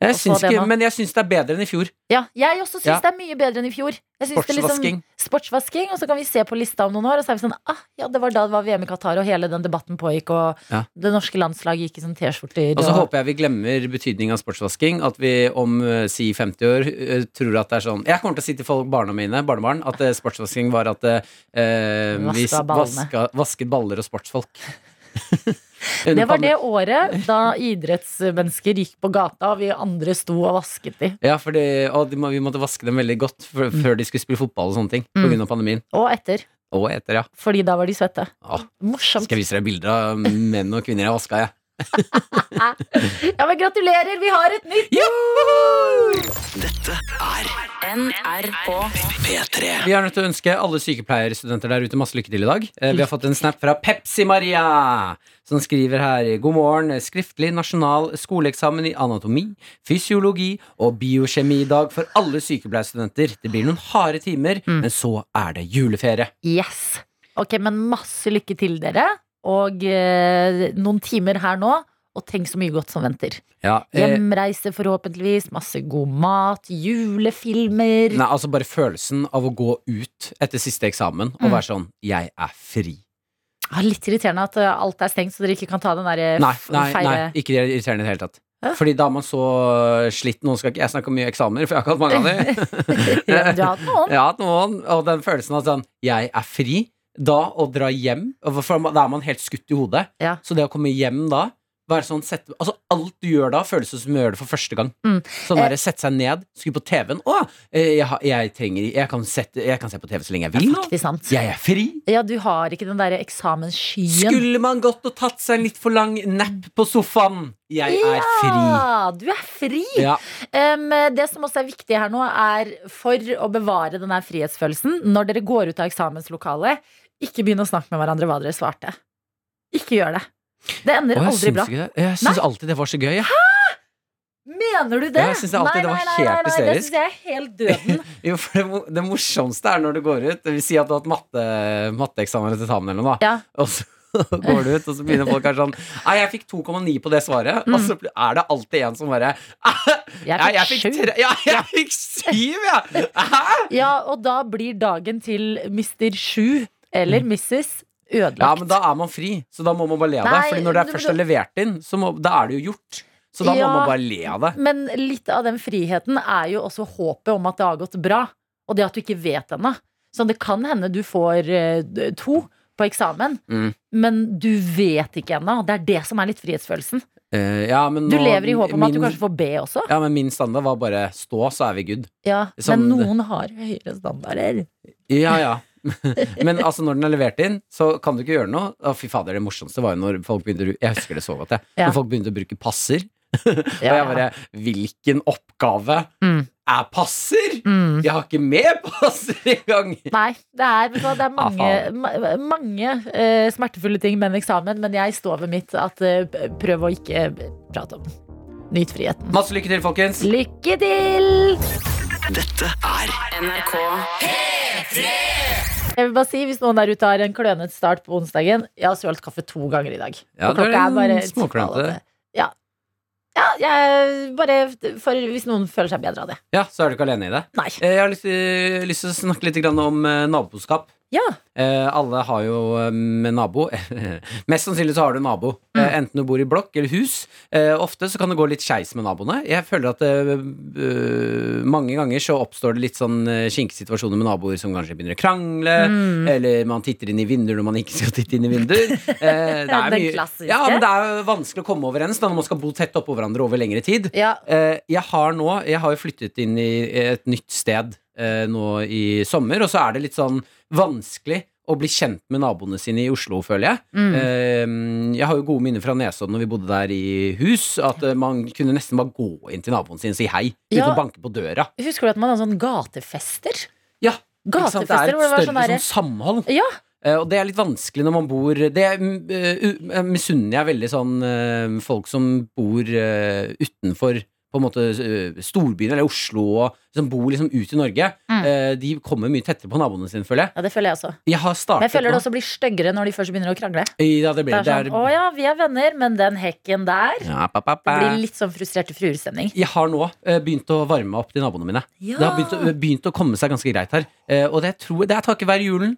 S3: Jeg
S2: Og så
S3: syns
S2: det
S3: ikke,
S2: nå.
S3: men jeg syns det er bedre enn i fjor.
S2: Ja, jeg også syns
S3: Ja.
S2: det er mye bedre enn i fjor. Jeg synes det er
S3: Sportsvasking.
S2: Liksom, sportsvasking, og så kan vi se på lista om noen år, og så er vi sånn ah, ja, det var da det var VM i Qatar, og hele den debatten pågikk, og
S3: Ja.
S2: det norske landslaget gikk i sånn T-skjorter.
S3: Og så
S2: og-
S3: håper jeg vi glemmer betydningen av sportsvasking. At vi om eh, si 50 år eh, tror at det er sånn Jeg kommer til å si til folk, barna mine, barnebarn, at eh, sportsvasking var at eh, vi s-
S2: Vaska ballene.
S3: vaska, vasket baller og
S2: [laughs]
S3: sportsfolk.
S2: Det var det året da idrettsmennesker gikk på gata, og vi andre sto og vasket de.
S3: Ja, for det- og de må, vi måtte vaske dem veldig godt før- før de skulle spille fotball og sånne ting. På
S2: Mm.
S3: grunn av pandemien.
S2: Og etter,
S3: Og etter, ja.
S2: fordi da var de svette.
S3: Åh,
S2: Morsomt.
S3: skal jeg vise deg bilder av menn og kvinner jeg vaska, jeg.
S2: Ja, men gratulerer, vi har et nytt!
S5: NRK P3
S3: Vi er nødt til å ønske alle sykepleierstudenter der ute masse lykke til i dag. Eh, Vi har fått en snap fra Pepsi Maria, som skriver her God morgen. Skriftlig nasjonal skoleeksamen i anatomi, fysiologi og biokjemi i dag for alle sykepleierstudenter. Det blir noen harde timer, men så er det juleferie.
S2: Yes. Ok, men masse lykke til dere, og eh, noen timer her nå, og tenk så mye godt som venter.
S3: Ja, eh,
S2: Hjemreise forhåpentligvis, masse god mat, julefilmer.
S3: Nei, altså bare følelsen av å gå ut etter siste eksamen og
S2: Mm.
S3: være sånn Jeg er fri.
S2: Ah, litt irriterende at eh, alt er stengt, så dere ikke kan ta den derre
S3: Nei, nei, nei
S2: feire
S3: ikke det er irriterende i det hele tatt.
S2: Hæ?
S3: Fordi da er man så slitt Nå skal ikke jeg snakke om mye eksamener, for jeg har ikke hatt mange av
S2: [laughs]
S3: de.
S2: Sånn. Ja, men Du har hatt
S3: [laughs]
S2: noen.
S3: Ja, at noen, og den følelsen av sånn Jeg er fri da å dra hjem og For da er man helt skutt i hodet
S2: Ja.
S3: Så det å komme hjem da være sånn, sette, altså alt du gjør da føles som du gjør det for første gang
S2: Mm.
S3: Sånn der, sette seg ned, skru på TV-en Åh, eh, jeg, har- jeg trenger jeg kan, sette, jeg kan se på TV så lenge jeg vil nå
S2: Faktisk sant.
S3: Jeg er fri
S2: Ja, du har ikke den derre eksamensskyen.
S3: Skulle man gått og tatt seg en litt for lang napp på sofaen Jeg er fri
S2: Ja, Ah, du er fri!
S3: ja,
S2: Em, det som også er viktig her nå, er for å bevare denne frihetsfølelsen når dere går ut av eksamenslokalet, ikke begynn å snakke med hverandre hva dere svarte. Ikke gjør det. Det
S3: Åh,
S2: ender
S3: jeg
S2: aldri bra.
S3: syns, ikke det. jeg syns
S2: Nei.
S3: alltid det var så gøy jeg.
S2: Mener du det?
S3: Ja, jeg synes det alltid det var helt
S2: Det
S3: hysterisk.
S2: syns jeg er helt døden.
S3: Jo, for det, mo- det morsomste er når du går ut Vi sier at du har hatt matte, matteeksamen eller tentamen eller noe da.
S2: Ja.
S3: Og så [laughs] går du ut, og så begynner folk her sånn Nei, jeg fikk 2,9 på det svaret. Og så er det alltid en som bare
S2: Mm.
S3: [laughs]
S2: Jeg
S3: «Nei, Jeg
S2: fikk
S3: fikk
S2: sju.
S3: tre [laughs] Ja, jeg fikk syv, jeg! Hæ?
S2: Ja, og da blir dagen til Mr. Sju eller Mrs. ødelagt.
S3: Mm. Ja, men da er man fri, så da må man bare le av det.
S2: Nei,
S3: Fordi når det er
S2: men-
S3: først er levert inn, så må, da er det jo gjort. Så da
S2: Ja.
S3: må man bare le av det.
S2: Men litt av den friheten er jo også håpet om at det har gått bra. Og det at du ikke vet ennå. Så det kan hende du får eh, d- to på eksamen,
S3: Mm.
S2: men du vet ikke ennå. Det er det som er litt frihetsfølelsen.
S3: Eh, ja, men
S2: Du
S3: nå-
S2: lever i håp om at du
S3: min-
S2: kanskje får B også.
S3: Ja, men min standard var bare stå, så er vi good.
S2: Ja,
S3: Sånn-
S2: men noen har høyere standarder.
S3: Ja, ja. [laughs] men altså, når den er levert inn, så kan du ikke gjøre noe. Å, fy fader, det morsomste var jo når folk begynte å- Jeg husker det så godt, jeg.
S2: Ja.
S3: Når folk begynte å bruke passer.
S2: Ja,
S3: Og jeg bare Hvilken oppgave
S2: Mm.
S3: er passer?!
S2: Mm.
S3: Jeg har ikke med [laughs] passer engang!
S2: Nei, det er, vet du hva, det er mange,
S3: Ah, faen.
S2: ma mange eh, smertefulle ting med en eksamen, men jeg står ved mitt at eh, prøv å ikke eh, prate om den. Nyt friheten.
S3: Masse lykke til, folkens!
S2: Lykke til!
S5: NRK
S2: Jeg vil bare si, Hvis noen der ute har en klønete start på onsdagen Jeg har sølt kaffe to ganger i dag.
S3: Ja,
S2: Og
S3: du er
S2: klokka
S3: en småklønete.
S2: Ja. ja jeg, bare for, hvis noen føler seg bedre av det.
S3: Ja, så er du ikke alene i det.
S2: Nei.
S3: Eh, Jeg har lyst, eh, lyst til å snakke litt grann om eh, naboskap.
S2: Ja.
S3: Eh, alle har jo eh, med nabo. [laughs] Mest sannsynlig så har du nabo. Eh,
S2: Mm.
S3: enten du bor i blokk eller hus. Eh, ofte så kan det gå litt skeis med naboene. Jeg føler at eh, eh, mange ganger så oppstår det litt sånn eh, kinkige situasjoner med naboer som kanskje begynner å krangle,
S2: Mm.
S3: eller man titter inn i vinduer når man ikke skal [laughs] titte inn i vinduer.
S2: [laughs]
S3: Eh, det er
S2: Den
S3: mye,
S2: klassiske.
S3: ja, men det er jo vanskelig å komme overens da, når man skal bo tett oppå hverandre over lengre tid.
S2: Ja.
S3: Eh, jeg har nå Jeg har jo flyttet inn i et nytt sted eh, nå i sommer, og så er det litt sånn vanskelig å bli kjent med naboene sine i Oslo, føler jeg.
S2: Mm.
S3: Eh, jeg har jo gode minner fra Nesodden når vi bodde der i hus, at eh, man kunne nesten bare gå inn til naboen sin og si hei, uten
S2: Ja.
S3: å banke på døra.
S2: Husker du at man hadde sånn gatefester?
S3: Ja, ikke sant?
S2: Gatefester
S3: Det er et
S2: hvor det var
S3: større
S2: sånn derre
S3: sånn samhold.
S2: Ja.
S3: Eh, Og det er litt vanskelig når man bor Det er, mm, eh, u- eh, misunner jeg veldig sånn eh, folk som bor eh, utenfor på en måte eh, storbyen eller Oslo og som bor liksom ut i Norge.
S2: Mm.
S3: Eh, De kommer mye tettere på naboene sine, føler jeg.
S2: ja, det føler jeg også.
S3: Jeg har startet
S2: Men jeg føler det
S3: nå-
S2: også blir styggere når de først begynner å krangle.
S3: Ja, det
S2: Det
S3: blir
S2: er sånn, Å ja, vi er venner, men den hekken der
S3: ja, pa, pa,
S2: Det
S3: pa.
S2: blir litt sånn frustrerte fruer-stemning.
S3: Jeg har nå eh, begynt å varme opp til naboene mine.
S2: Ja.
S3: Det har begynt, å- eh, begynt å komme seg ganske greit her. Eh, og det, tror, det er takket være julen.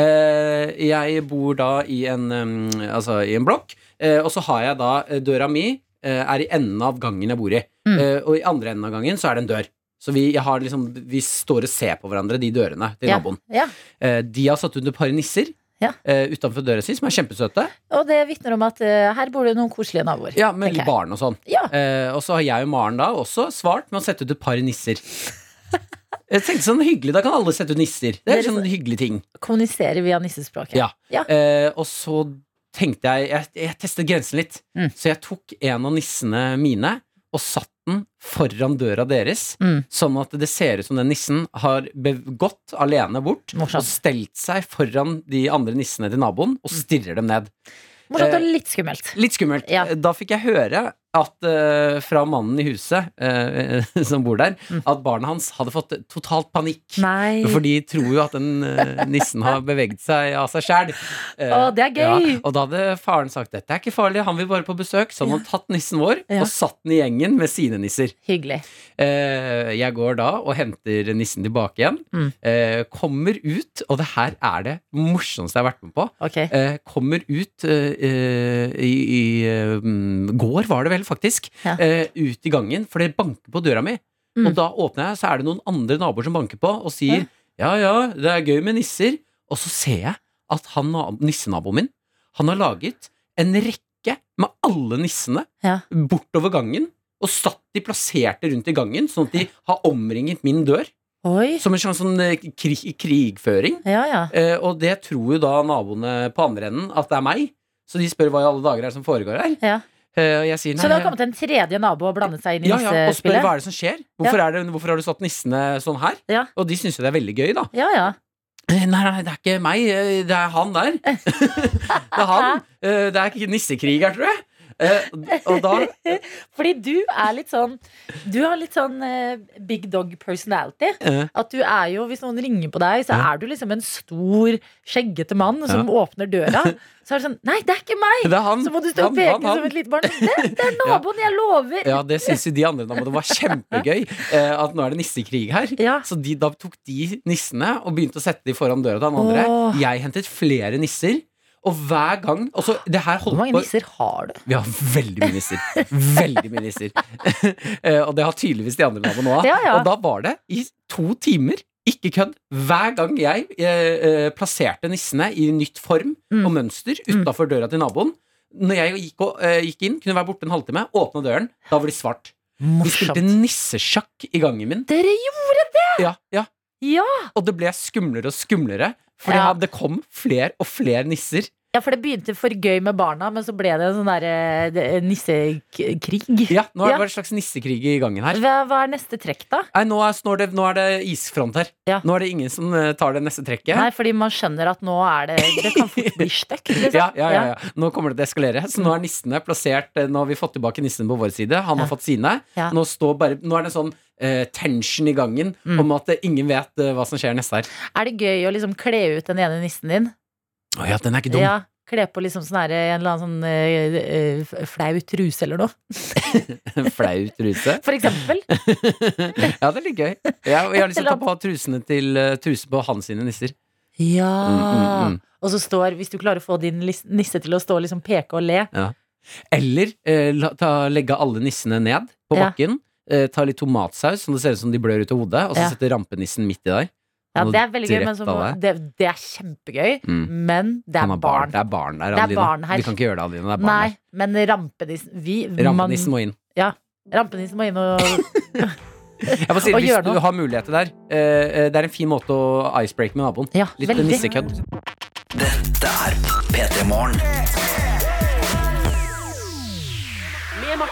S3: Eh, jeg bor da i en, em, altså, i en blokk, eh, og så har jeg da eh, døra mi eh, er i enden av gangen jeg bor i.
S2: Mm.
S3: Eh, og i andre enden av gangen så er det en dør. Så vi, jeg har liksom, vi står og ser på hverandre, de dørene til
S2: Ja,
S3: naboen.
S2: ja.
S3: Eh, de har satt ut et par nisser
S2: Ja.
S3: eh, utenfor døra si, som er kjempesøte.
S2: Og det vitner om at eh, her bor det noen koselige naboer.
S3: Ja, med
S2: tenker jeg.
S3: barn og sånn.
S2: Ja.
S3: Eh, og så har jeg og Maren da også svart med å sette ut et par nisser. Jeg tenkte sånn hyggelig, Da kan alle sette ut nisser. Det er
S2: Dere-
S3: sånn hyggelig ting.
S2: Kommuniserer via nissespråket.
S3: Ja.
S2: Ja.
S3: Eh, og så tenkte jeg Jeg, jeg testet grensen litt.
S2: Mm.
S3: Så jeg tok en av nissene mine og satt den foran døra deres,
S2: Mm.
S3: sånn at det ser ut som den nissen har be- gått alene bort og
S2: Morsomt.
S3: stelt seg foran de andre nissene til naboen
S2: Mm.
S3: og stirrer dem ned.
S2: Morsomt
S3: eh,
S2: og litt skummelt.
S3: Litt skummelt.
S2: Ja.
S3: Da fikk jeg høre at, eh, fra mannen i huset eh, [laughs] som bor der, at barna hans hadde fått totalt panikk.
S2: Mm. Nei.
S3: For de tror jo at den eh, nissen har beveget seg av seg sjæl.
S2: Å, det er gøy.
S3: eh, Ja, og da hadde faren sagt dette er ikke farlig, han vil bare på besøk. Så han hadde tatt nissen vår
S2: Ja.
S3: og satt den i gjengen med sine nisser.
S2: Hyggelig.
S3: Eh, jeg går da og henter nissen tilbake igjen.
S2: Mm.
S3: Eh, kommer ut, og det her er det morsomste jeg har vært med på
S2: Ok.
S3: eh, kommer ut eh, eh, i, i eh, mm, går, var det vel faktisk,
S2: Ja.
S3: eh, ut i gangen, for det banker på døra mi.
S2: Mm.
S3: Og da åpner jeg, så er det noen andre naboer som banker på og sier ja, ja, det er gøy med nisser. Og så ser jeg at han, na- nissenaboen min, han har laget en rekke med alle nissene
S2: Ja.
S3: bortover gangen. Og satt de plasserte rundt i gangen, sånn at de har omringet min dør.
S2: Oi.
S3: Som en slags sånn eh, krig, krigføring.
S2: Ja, ja.
S3: Eh, og det tror jo da naboene på andre enden at det er meg. Så de spør hva i alle dager er det som foregår her.
S2: Ja.
S3: Eh, og jeg sier nei.
S2: Så det har kommet en tredje nabo og blandet seg inn i
S3: ja, ja, og spør
S2: nissespillet?
S3: hva er det som skjer. Hvorfor, er det, hvorfor har du satt nissene sånn her?
S2: Ja.
S3: Og de syns jo det er veldig gøy, da.
S2: Ja, ja.
S3: Eh, Nei, nei, det er
S2: [laughs]
S3: ikke meg. eh, Det er han der. det er han. Eh, Det er ikke nissekrig her, tror jeg. Eh, og da
S2: Fordi du er litt sånn Du har litt sånn eh, big dog personality.
S3: eh,
S2: At du er jo, Hvis noen ringer på deg, så
S3: Ja.
S2: er du liksom en stor, skjeggete mann som åpner døra. Så er det sånn Nei, det er ikke meg!
S3: Det er han.
S2: Så må du stå og
S3: Han,
S2: peke
S3: han, han.
S2: som et lite barn. Det,
S3: [laughs]
S2: det er naboen, jeg lover!
S3: Ja, det syns jo de andre da, men det var kjempegøy eh, at nå er det nissekrig her.
S2: Ja.
S3: Så de, da tok de nissene og begynte å sette de foran døra til han andre.
S2: Åh.
S3: Jeg hentet flere nisser, og hver gang og så, det her
S2: Hvor
S3: holdt
S2: mange
S3: på,
S2: nisser har du?
S3: Vi har veldig mye nisser. Veldig mye nisser. [laughs] Eh, og det har tydeligvis de andre navnene nå.
S2: Ja, ja.
S3: Og da var det i to timer, ikke kødd, hver gang jeg eh, eh, plasserte nissene i nytt form
S2: Mm.
S3: og mønster utafor døra til naboen. Når jeg gikk, og, eh, gikk inn, kunne være borte en halvtime, åpna døren, da var de svart. Vi spilte
S2: Morsomt.
S3: nissesjakk i gangen min.
S2: Dere gjorde
S3: Ja, ja.
S2: Ja!
S3: Og det ble skumlere og skumlere, for
S2: Ja.
S3: det kom flere og flere nisser.
S2: Ja, for det begynte for gøy med barna, men så ble det en sånn der eh, det- nissekrig.
S3: Ja, Nå er
S2: Ja.
S3: det bare en slags nissekrig i gangen her.
S2: Hva, hva er neste trekk, da?
S3: Nei, nå er, nå er, det, nå er det isfront her.
S2: Ja.
S3: Nå er det ingen som eh, tar det neste trekket.
S2: Nei, fordi man skjønner at nå er det Det kan fort bli støkt, liksom.
S3: Ja, ja, ja, ja. Nå kommer det til å eskalere. Så nå er nissene plassert eh, Nå har vi fått tilbake nissen på vår side. Han
S2: Ja.
S3: har fått sine.
S2: Ja.
S3: Nå, står bare, nå er det en sånn eh, tension i gangen
S2: Mm.
S3: om at eh, ingen vet eh, hva som skjer neste her.
S2: Er det gøy å liksom kle ut den ene nissen din?
S3: Å ja, den er ikke dum. [laughs]
S2: Ja, Kle på liksom sånn her, en eller annen sånn eh, eh, f- flau truse eller noe,
S3: Flau truse.
S2: for
S3: [laughs]
S2: eksempel.
S3: Mm, ja, det er litt gøy. Jeg, jeg har lyst til å ta
S2: Eller-
S3: på trusene til eh, truse på hans sine nisser.
S2: Ja!
S3: Mm, mm, mm.
S2: Og så står, hvis du klarer å få din lis- nisse til å stå og liksom peke og le
S3: Eller eh, la, ta, legge alle nissene ned på
S2: Ja.
S3: bakken. Eh, ta litt tomatsaus, som det ser ut som de blør ut av hodet, og så
S2: Ja.
S3: sette rampenissen midt i der.
S2: Ja,
S3: Og
S2: det er veldig gøy, men
S3: direkte
S2: så,
S3: av
S2: må-
S3: deg.
S2: det, det er kjempegøy,
S3: Mm.
S2: men det
S3: Han
S2: er
S3: har
S2: barn.
S3: Det er barn der,
S2: Det er
S3: Adelina.
S2: barn her.
S3: Vi kan ikke gjøre det, Adelina. Det er barn
S2: Nei, men rampenissen vi,
S3: der. Rampenissen må inn.
S2: man, rampenissen må inn og
S3: Jeg bare sier,
S2: Og gjør
S3: hvis
S2: noe.
S3: du har muligheter der, eh, eh, det er en fin måte å icebreak med naboen.
S2: Ja,
S3: Litt
S2: veldig.
S3: nissekødd.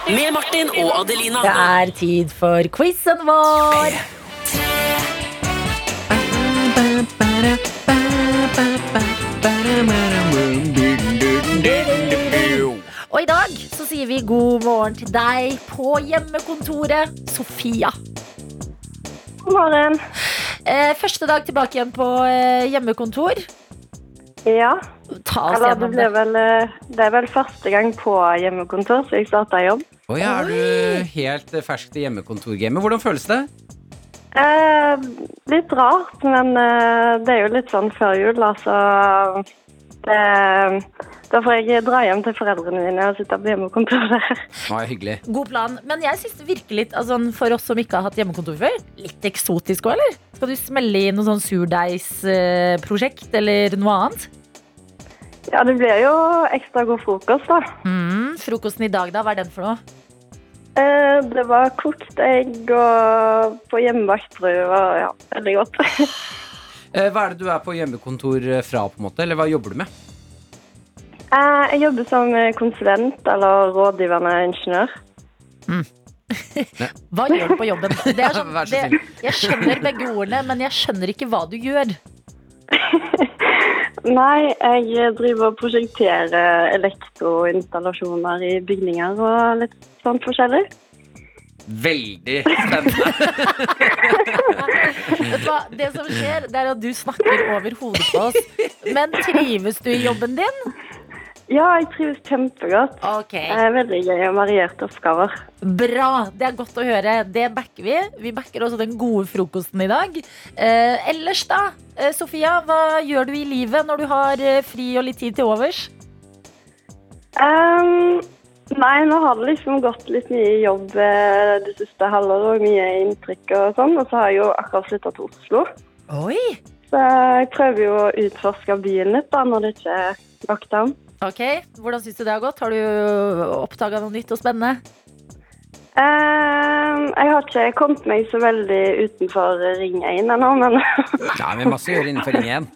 S5: Med Martin og Adelina.
S2: Det er tid for quizen vår! Og i dag så sier vi god morgen til deg på hjemmekontoret, Sofia.
S7: God morgen.
S2: Eh, første dag tilbake igjen på eh, hjemmekontor.
S7: Ja.
S2: Ta oss
S7: Eller det
S2: gjennom
S7: ble
S2: det.
S7: vel eh, Det er vel første gang på hjemmekontor, så jeg starta jobb.
S3: Å ja, er du helt eh, fersk til hjemmekontorgamet? Hvordan føles det?
S7: Eh, litt rart, men eh, det er jo litt sånn før jul, altså. Det, da får jeg dra hjem til foreldrene mine og sitte på [laughs] hjemmekontoret.
S3: Å, ja, hyggelig.
S2: God plan. Men jeg syns det virker litt, altså, for oss som ikke har hatt hjemmekontor før, litt eksotisk òg, eller? Skal du smelle inn noe sånn surdeigsprosjekt eller noe annet?
S7: Ja, det blir jo ekstra god frokost, da.
S2: Mm, frokosten i dag, da? Hva er den for noe?
S7: Eh, det var kokt egg og på hjemmebakt brød og ja, veldig godt.
S3: Eh, Hva er det du er på hjemmekontor eh, fra, på en måte? Eller hva jobber du med?
S7: Eh, jeg jobber som konsulent eller rådgivende ingeniør.
S2: Hva gjør du på jobben? Det er sånn,
S3: Vær så
S2: det, jeg skjønner begge ordene, men jeg skjønner ikke hva du gjør.
S7: [laughs] Nei, jeg driver og prosjekterer elektroinstallasjoner i bygninger og litt sånt forskjellig.
S3: Veldig spennende.
S2: Vet du hva? Det som skjer, det er at du snakker over hodet på oss. Men trives du i jobben din?
S7: Ja, jeg trives kjempegodt.
S2: Ok,
S7: Det er veldig gøy og varierte oppgaver.
S2: Bra. Det er godt å høre. Det backer vi. Vi backer også den gode frokosten i dag. Eh, ellers, da? Eh, Sofia, hva gjør du i livet når du har eh, fri og litt tid til overs?
S7: Ehm, nei, nå har det liksom gått litt mye i jobb eh, det siste halvåret og mye inntrykk og sånn. Og så har jeg jo akkurat flytta til Oslo.
S2: Oi!
S7: Så jeg prøver jo å utforske byen litt da, når det ikke er lockdown.
S2: Ok, Hvordan syns du det har gått? Har du oppdaga noe nytt og spennende?
S7: Ehm, jeg har ikke kommet meg så veldig utenfor Ring 1 ennå, men [laughs]
S3: Nei, men masse å gjøre innenfor Ring 1.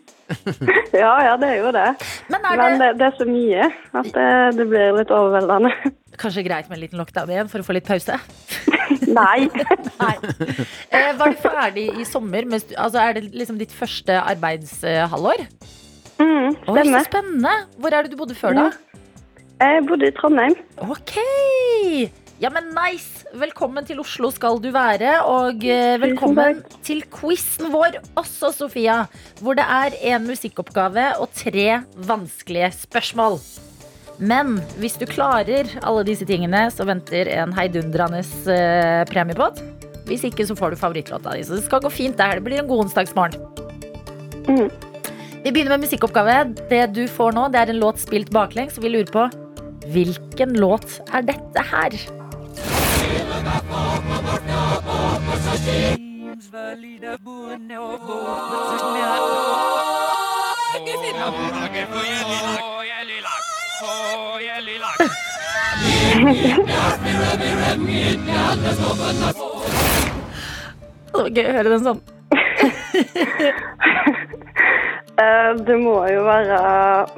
S7: ja, ja, det er jo det.
S2: Men er det
S7: Men det, det er så mye at det, det blir litt overveldende. [laughs]
S2: Kanskje greit med en liten lockdown igjen for å få litt pause?
S7: Nei.
S2: [laughs]
S7: [laughs]
S2: Nei. Eh, var du ferdig i sommer? Med stu- altså, er det liksom ditt første arbeidshalvår? Oi,
S7: Mm,
S2: så
S7: stemmer.
S2: spennende! Hvor er det du bodde før, da?
S7: Jeg bodde i Trondheim.
S2: Ok! Ja, men nice! Velkommen til Oslo skal du være, og eh, velkommen til quizen vår også, Sofia. Hvor det er en musikkoppgave og tre vanskelige spørsmål. Men hvis du klarer alle disse tingene, så venter en heidundrende eh, premiepott. Hvis ikke, så får du favorittlåta di. Så det skal gå fint der. Det blir en god onsdagsmorgen.
S7: Mhm.
S2: Vi begynner med musikkoppgave. Det du får nå, det er en låt spilt baklengs, og vi lurer på Hvilken låt er dette her? Det var gøy å høre den sånn.
S7: Eh, Det må jo være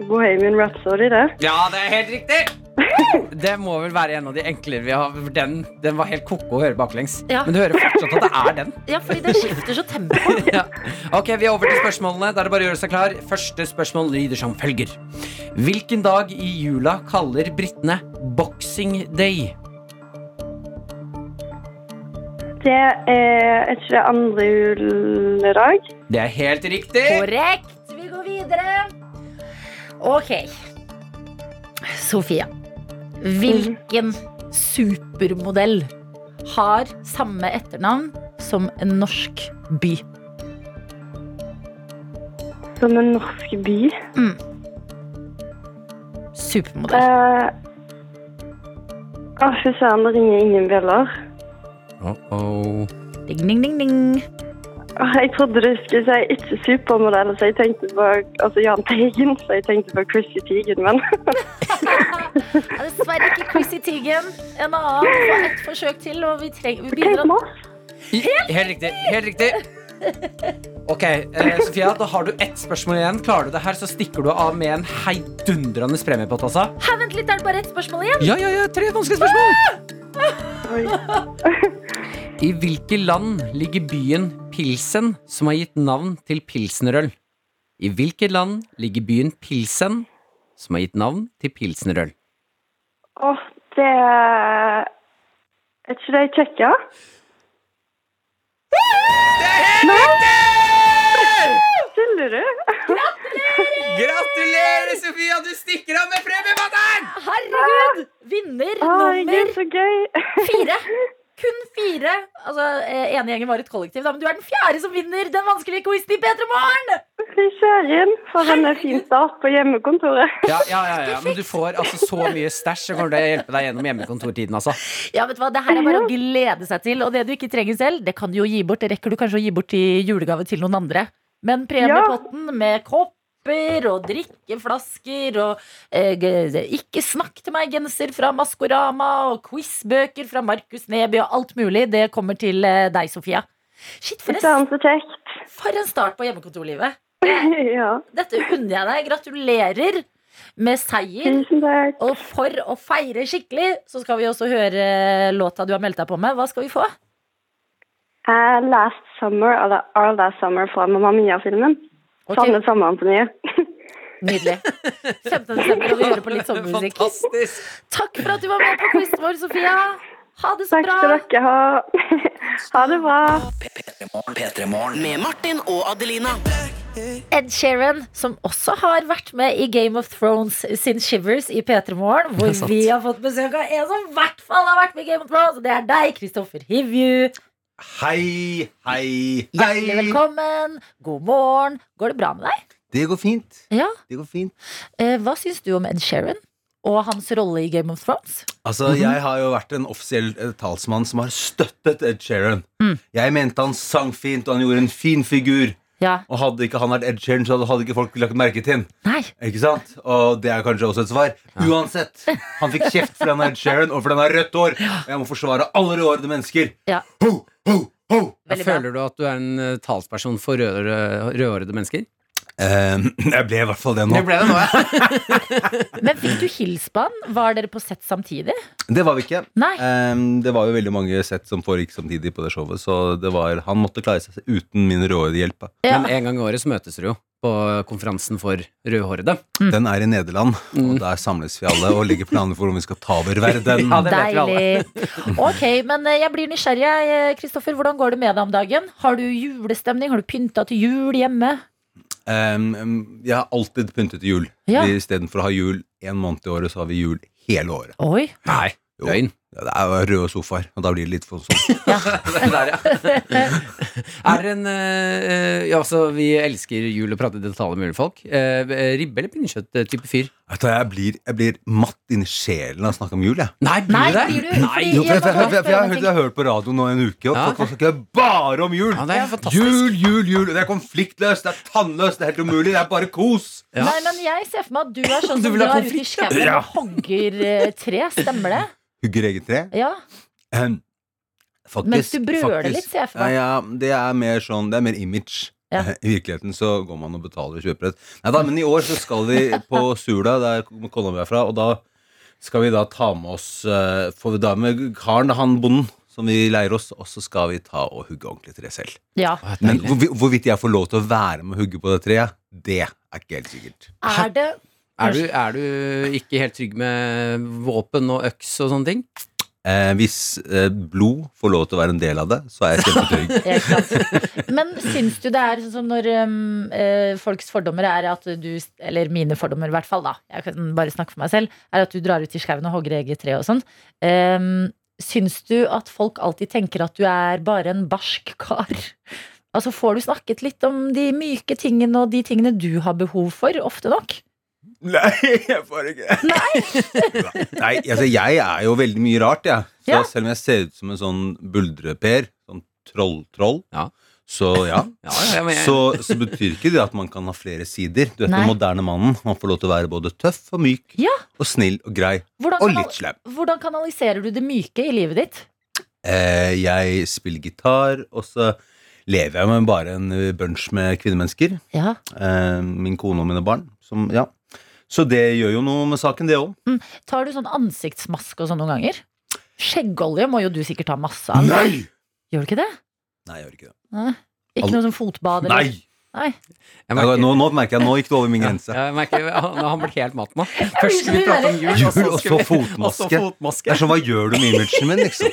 S7: Bohemian Rhapsody, det.
S3: Ja, det er helt riktig! [laughs] Det må vel være en av de enklere vi har. for Den, den var helt ko-ko å høre baklengs.
S2: Ja.
S3: Men du hører fortsatt at det er den.
S2: Ja, fordi det skifter så tempo.
S3: Ja. Ok, Vi er over til spørsmålene. Da er det bare å gjøre seg klar. Første spørsmål lyder som følger. Hvilken dag i jula kaller britene Boxing Day?
S7: Det er er ikke det andre juledag.
S3: Det er helt riktig!
S2: Korrekt. Vi går videre. Ok. Sofia. Hvilken supermodell har samme etternavn som en norsk by?
S7: Som en norsk by.
S2: Supermodell.
S7: Eh, Å, fy søren, det ringer ingen bjeller.
S3: Uh-oh.
S2: Ding, ding, ding, ding.
S7: Åh, Jeg trodde du skulle si ikke supermodell, så jeg tenkte på altså Jahn Teigen. Så jeg tenkte på Chrissy Teigen, men
S2: Ja, dessverre ikke quiz i Tigen. En annen. Vi får ett forsøk til, og vi, trenger, vi begynner
S7: Kate
S2: å
S7: Moss.
S3: Helt, riktig! Helt riktig. Ok, eh, Sofia, da har du ett spørsmål igjen. Klarer du det her, så stikker du av med en heidundrende premiepott. Altså.
S2: Hæ, vent litt, er det bare ett spørsmål igjen?
S3: Ja, ja, ja, tre vanskelige spørsmål!
S7: Oi.
S3: I hvilke land ligger byen Pilsen, som har gitt navn til pilsnerøl? I hvilke land ligger byen Pilsen, som har gitt navn til pilsnerøl?
S7: Åh, det er Er ikke det i Tsjekkia? Nei! Tuller du?
S3: Gratulerer, Sofia! Du stikker av med premiebatteren!
S2: Herregud! Vinner
S7: Herregud,
S2: nummer
S7: så gøy. [laughs]
S2: fire. Kun fire. Altså, eh, ene gjengen var et kollektiv, da, men du er den fjerde som vinner den vanskelige quizen i P3 Morgen!
S7: Fy søren, for en fin start på hjemmekontoret.
S3: Ja, ja, ja, ja, men du får altså så mye stæsj, så kommer det å hjelpe deg gjennom hjemmekontortiden, altså.
S2: Ja, vet du hva, Det her er bare å glede seg til, og det du ikke trenger selv, det kan du jo gi bort. Det rekker du kanskje å gi bort i julegave til noen andre. Men premiepotten med kopper og drikkeflasker og eh, g- Ikke snakk til meg-genser fra Maskorama og quizbøker fra Markus Neby og alt mulig, det kommer til eh, deg, Sofia. Shit, for
S7: Fy
S2: en
S7: søren, så kjekt.
S2: For en start på hjemmekontorlivet.
S7: Ja, [laughs]
S2: Dette unner jeg deg. Gratulerer med seier.
S7: tusen takk.
S2: Og for å feire skikkelig, så skal vi også høre låta du har meldt deg på med. Hva skal vi få?
S7: Eh, last Summer, eller Our Last Summer fra Mamma Mia-filmen.
S2: Ok,
S7: Savner sommeren på nye.
S2: Nydelig. 15. desember, og vi hører på litt
S7: [laughs]
S2: sommermusikk.
S3: Fantastisk!
S2: Takk for at du var med på quizen vår, Sofia. Ha det så
S7: [laughs] Takk skal
S2: bra.
S7: dere ha. [laughs] Ha det bra.
S5: Med Martin og Adelina.
S2: Ed Sheeran, som også har vært med i Game of Thrones sin Shivers i P3 Morgen, hvor vi har fått besøk av en som i hvert fall har vært med i Game of Thrones, og det er deg, Kristoffer Hivju.
S8: Hei, hei,
S2: Hjertelig
S8: hei!
S2: velkommen. God morgen. Går det bra med deg?
S8: Det går fint.
S2: Ja.
S8: Det går fint.
S2: Eh, hva syns du om Ed Sheeran og hans rolle i Game of Thrones?
S8: Altså, Jeg har jo vært en offisiell eh, talsmann som har støttet Ed Sheeran.
S2: Mm.
S8: Jeg mente han sang fint, og han gjorde en fin figur.
S2: Ja.
S8: Og hadde ikke han vært Ed Sheeran, så hadde ikke folk lagt merke til ham.
S2: Nei.
S8: Ikke sant? Og det er kanskje også et svar. Uansett, han fikk kjeft fordi han er Ed Sheeran, og fordi han har rødt hår. Og jeg må forsvare alle rødhårede mennesker.
S2: Ja.
S8: Ho, ho, ho!
S2: Veldig bra.
S3: Føler du at du er en eh, talsperson for rød- rødhårede mennesker?
S8: Eh, jeg ble i hvert fall det nå.
S3: Det ble det nå, ja.
S2: Men fikk du hilse på han? Var dere på sett samtidig?
S8: Det var vi ikke.
S2: Nei.
S8: Ehm, det var jo veldig mange sett som foregikk samtidig på det showet, så det var, han måtte klare seg uten min
S2: [laughs]
S8: rådhjelp.
S2: Ja.
S3: Men en gang i året så møtes dere jo. på konferansen for rødhårede.
S8: Den er i Nederland, og der samles vi alle og legger planer for om vi skal ta over verden.
S3: Mm. [laughs] Ja, det vet vi alle.
S2: Deilig. Ok, men eh, jeg blir nysgjerrig. jeg, eh, Kristoffer, hvordan går det med deg om dagen? Har du julestemning? Har du pynta til jul hjemme?
S8: Um, um, jeg har alltid pyntet til jul.
S2: Ja.
S8: Istedenfor å ha jul én måned i året, så har vi jul hele året.
S2: Oi.
S3: Nei,
S8: Jo.
S3: døgn.
S8: Ja, Det er jo røde sofaer, og da blir det litt for sånn.
S3: [laughs] Det der, ja. [laughs] Er det en eh, Ja, altså, vi elsker jul og prate detaljer med julefolk. Eh, ribbe eller pinnekjøtt-type fyr?
S8: Vet du hva, Jeg blir, jeg blir matt inni sjelen av å snakke om jul, jeg.
S3: Nei,
S2: Nei,
S3: blir du
S2: blir
S3: det?
S2: du? Fordi
S8: Jo, for jeg,
S2: jeg
S8: for jeg, for jeg,
S2: må
S8: for jeg, har
S2: bare
S8: hørt- jeg har hørt på radio nå en uke, og
S3: Ja.
S8: folk snakker bare om jul.
S3: Ja, det er fantastisk.
S8: Jul, jul, jul. og Det er konfliktløst, det er tannløst, det er helt umulig, det er bare kos.
S3: Ja.
S2: Nei, men jeg ser for meg at du er sånn
S3: Du
S2: som
S3: vil ha
S2: drar ut i
S3: konflikt,
S2: skauen og hogger eh, tre. Stemmer det?
S8: Hugger eget tre.
S2: Ja.
S8: Ahem. Ehm, Faktisk,
S2: Mens du brøler
S8: faktisk.
S2: litt, ser jeg for
S8: Ja,
S2: meg.
S8: ja, det er mer sånn, det er mer image. eh,
S2: Ja.
S8: I virkeligheten så går man og betaler og kjøper et. Nei da, men i år så skal vi på Sula, der kona mi er fra, og da skal vi da ta med oss eh, Får vi da med karen, da, han bonden, som vi leier oss, og så skal vi ta og hugge ordentlig tre selv.
S2: Ja.
S8: Men hvorvi- hvorvidt jeg får lov til å være med og hugge på det treet, det er ikke helt sikkert.
S2: Er det
S3: Er du, er du ikke helt trygg med våpen og øks og sånne ting?
S8: Eh, hvis eh, blod får lov til å være en del av det, så er jeg kjempetrygg.
S2: Ja, ikke sant. Men syns du det er sånn som når um, eh, folks fordommer er at du Eller mine fordommer, i hvert fall, da. Jeg kan bare snakke for meg selv. Er at du drar ut i skauen og hogger eget tre og sånn. Um, syns du at folk alltid tenker at du er bare en barsk kar? Altså Får du snakket litt om de myke tingene og de tingene du har behov for, ofte nok?
S8: Nei, jeg får ikke det. Nei, altså jeg er jo veldig mye rart, jeg. Så
S2: Ja.
S8: selv om jeg ser ut som en sånn buldreper, sånn troll-troll,
S3: Ja.
S8: så ja.
S3: [laughs] Ja, ja, men jeg-
S8: Så, så betyr ikke det at man kan ha flere sider. Du vet
S2: Nei.
S8: den moderne mannen. Man får lov til å være både tøff og myk
S2: Ja.
S8: og snill og grei
S3: Altså,
S2: Hvordan,
S8: og
S2: kanal-
S8: litt slem.
S2: hvordan kanaliserer du det myke i livet ditt?
S8: Eh, jeg spiller gitar, og så lever jeg med bare en eh, bunch med kvinnemennesker.
S2: Ja
S8: Eh, min kone og mine barn. Som, ja. Så det gjør jo noe med saken, det òg.
S2: Tar du sånn ansiktsmaske og sånn noen ganger? Skjeggolje må jo du sikkert ta masse av. Gjør du ikke det?
S8: Nei, jeg gjør ikke det.
S2: Ikke
S8: Al-
S2: noe sånn fotbad? eller-
S8: Nei!
S2: Nei.
S3: Jeg
S8: Nei,
S3: merker-
S8: Nå, nå merker jeg, nå gikk det over min grense.
S3: Ja, jeg merker, han, han ble
S2: [laughs]
S3: helt matt nå. Først skulle vi prate om jul,
S8: Jul,
S3: og så,
S8: og
S3: skulle
S8: så
S3: vi- [laughs]
S8: fotmaske.
S3: og så
S8: Det
S3: fotmaske.
S8: er sånn, hva gjør du med imagen min, liksom?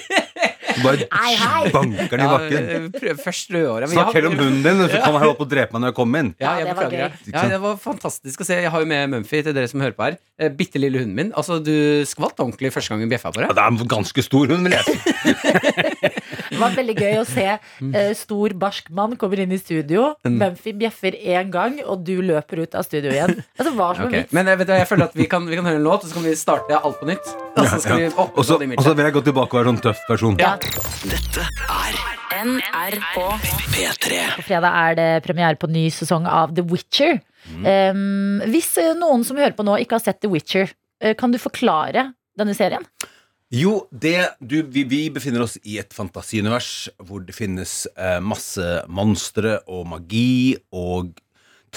S8: Du bare
S2: Hei, hei.
S8: banker den i bakken.
S3: Ja, eh, prøv- først rødhåret. men jeg
S8: Snakk
S3: har-
S8: heller om hunden din, så kan han holde på å drepe meg når jeg kommer inn.
S3: Ja,
S2: Ja,
S3: jeg
S2: det var
S3: beklager.
S2: gøy.
S3: det. Ja, det var fantastisk å se. Jeg har jo med Mumphy til dere som hører på her. Eh, Bitte lille hunden min. Altså, du skvatt ordentlig første gang hun bjeffa på
S8: Ja,
S3: deg.
S8: det er en ganske stor hund, vil jeg si.
S2: Det var veldig gøy å se eh, stor, barsk mann kommer inn i studio. Mumphy bjeffer én gang, og du løper ut av studio igjen. Altså, hva som
S3: Ok,
S2: okay.
S3: Men jeg, vet, du, jeg føler at vi kan, vi kan høre en låt, og så kan vi starte alt på nytt. Og så skal vi opp
S8: Og så og så vil jeg gå tilbake og være sånn tøff person.
S3: Ja.
S5: NRK P3.
S2: På fredag er det premiere på ny sesong av The Witcher. Eh, hvis eh, noen som hører på nå, ikke har sett The Witcher, eh, kan du forklare denne serien?
S8: Jo, det du, vi, vi befinner oss i et fantasiunivers hvor det finnes eh, masse monstre og magi og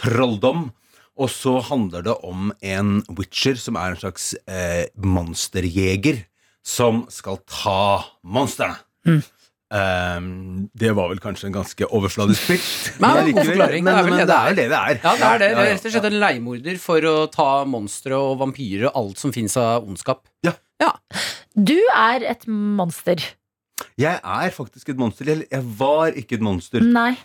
S8: trolldom. Og så handler det om en witcher som er en slags eh, monsterjeger som skal ta monstrene.
S3: Mm.
S8: Eh, det var vel kanskje en ganske overfladisk
S3: [laughs]
S8: pitch.
S3: Nei, det var en god
S8: likevel-
S3: forklaring.
S8: men,
S3: Det er vel
S8: men
S3: det
S8: det
S3: det
S8: er
S3: er.
S8: jo det det er.
S3: Ja, det er det. Det
S8: Ja,
S3: er
S8: ja,
S3: rett og slett en leiemorder for å ta monstre og vampyrer og alt som fins av ondskap.
S2: Du er et monster.
S8: Jeg er faktisk et monster. Eller jeg var ikke et monster.
S3: Mm.
S2: Nei.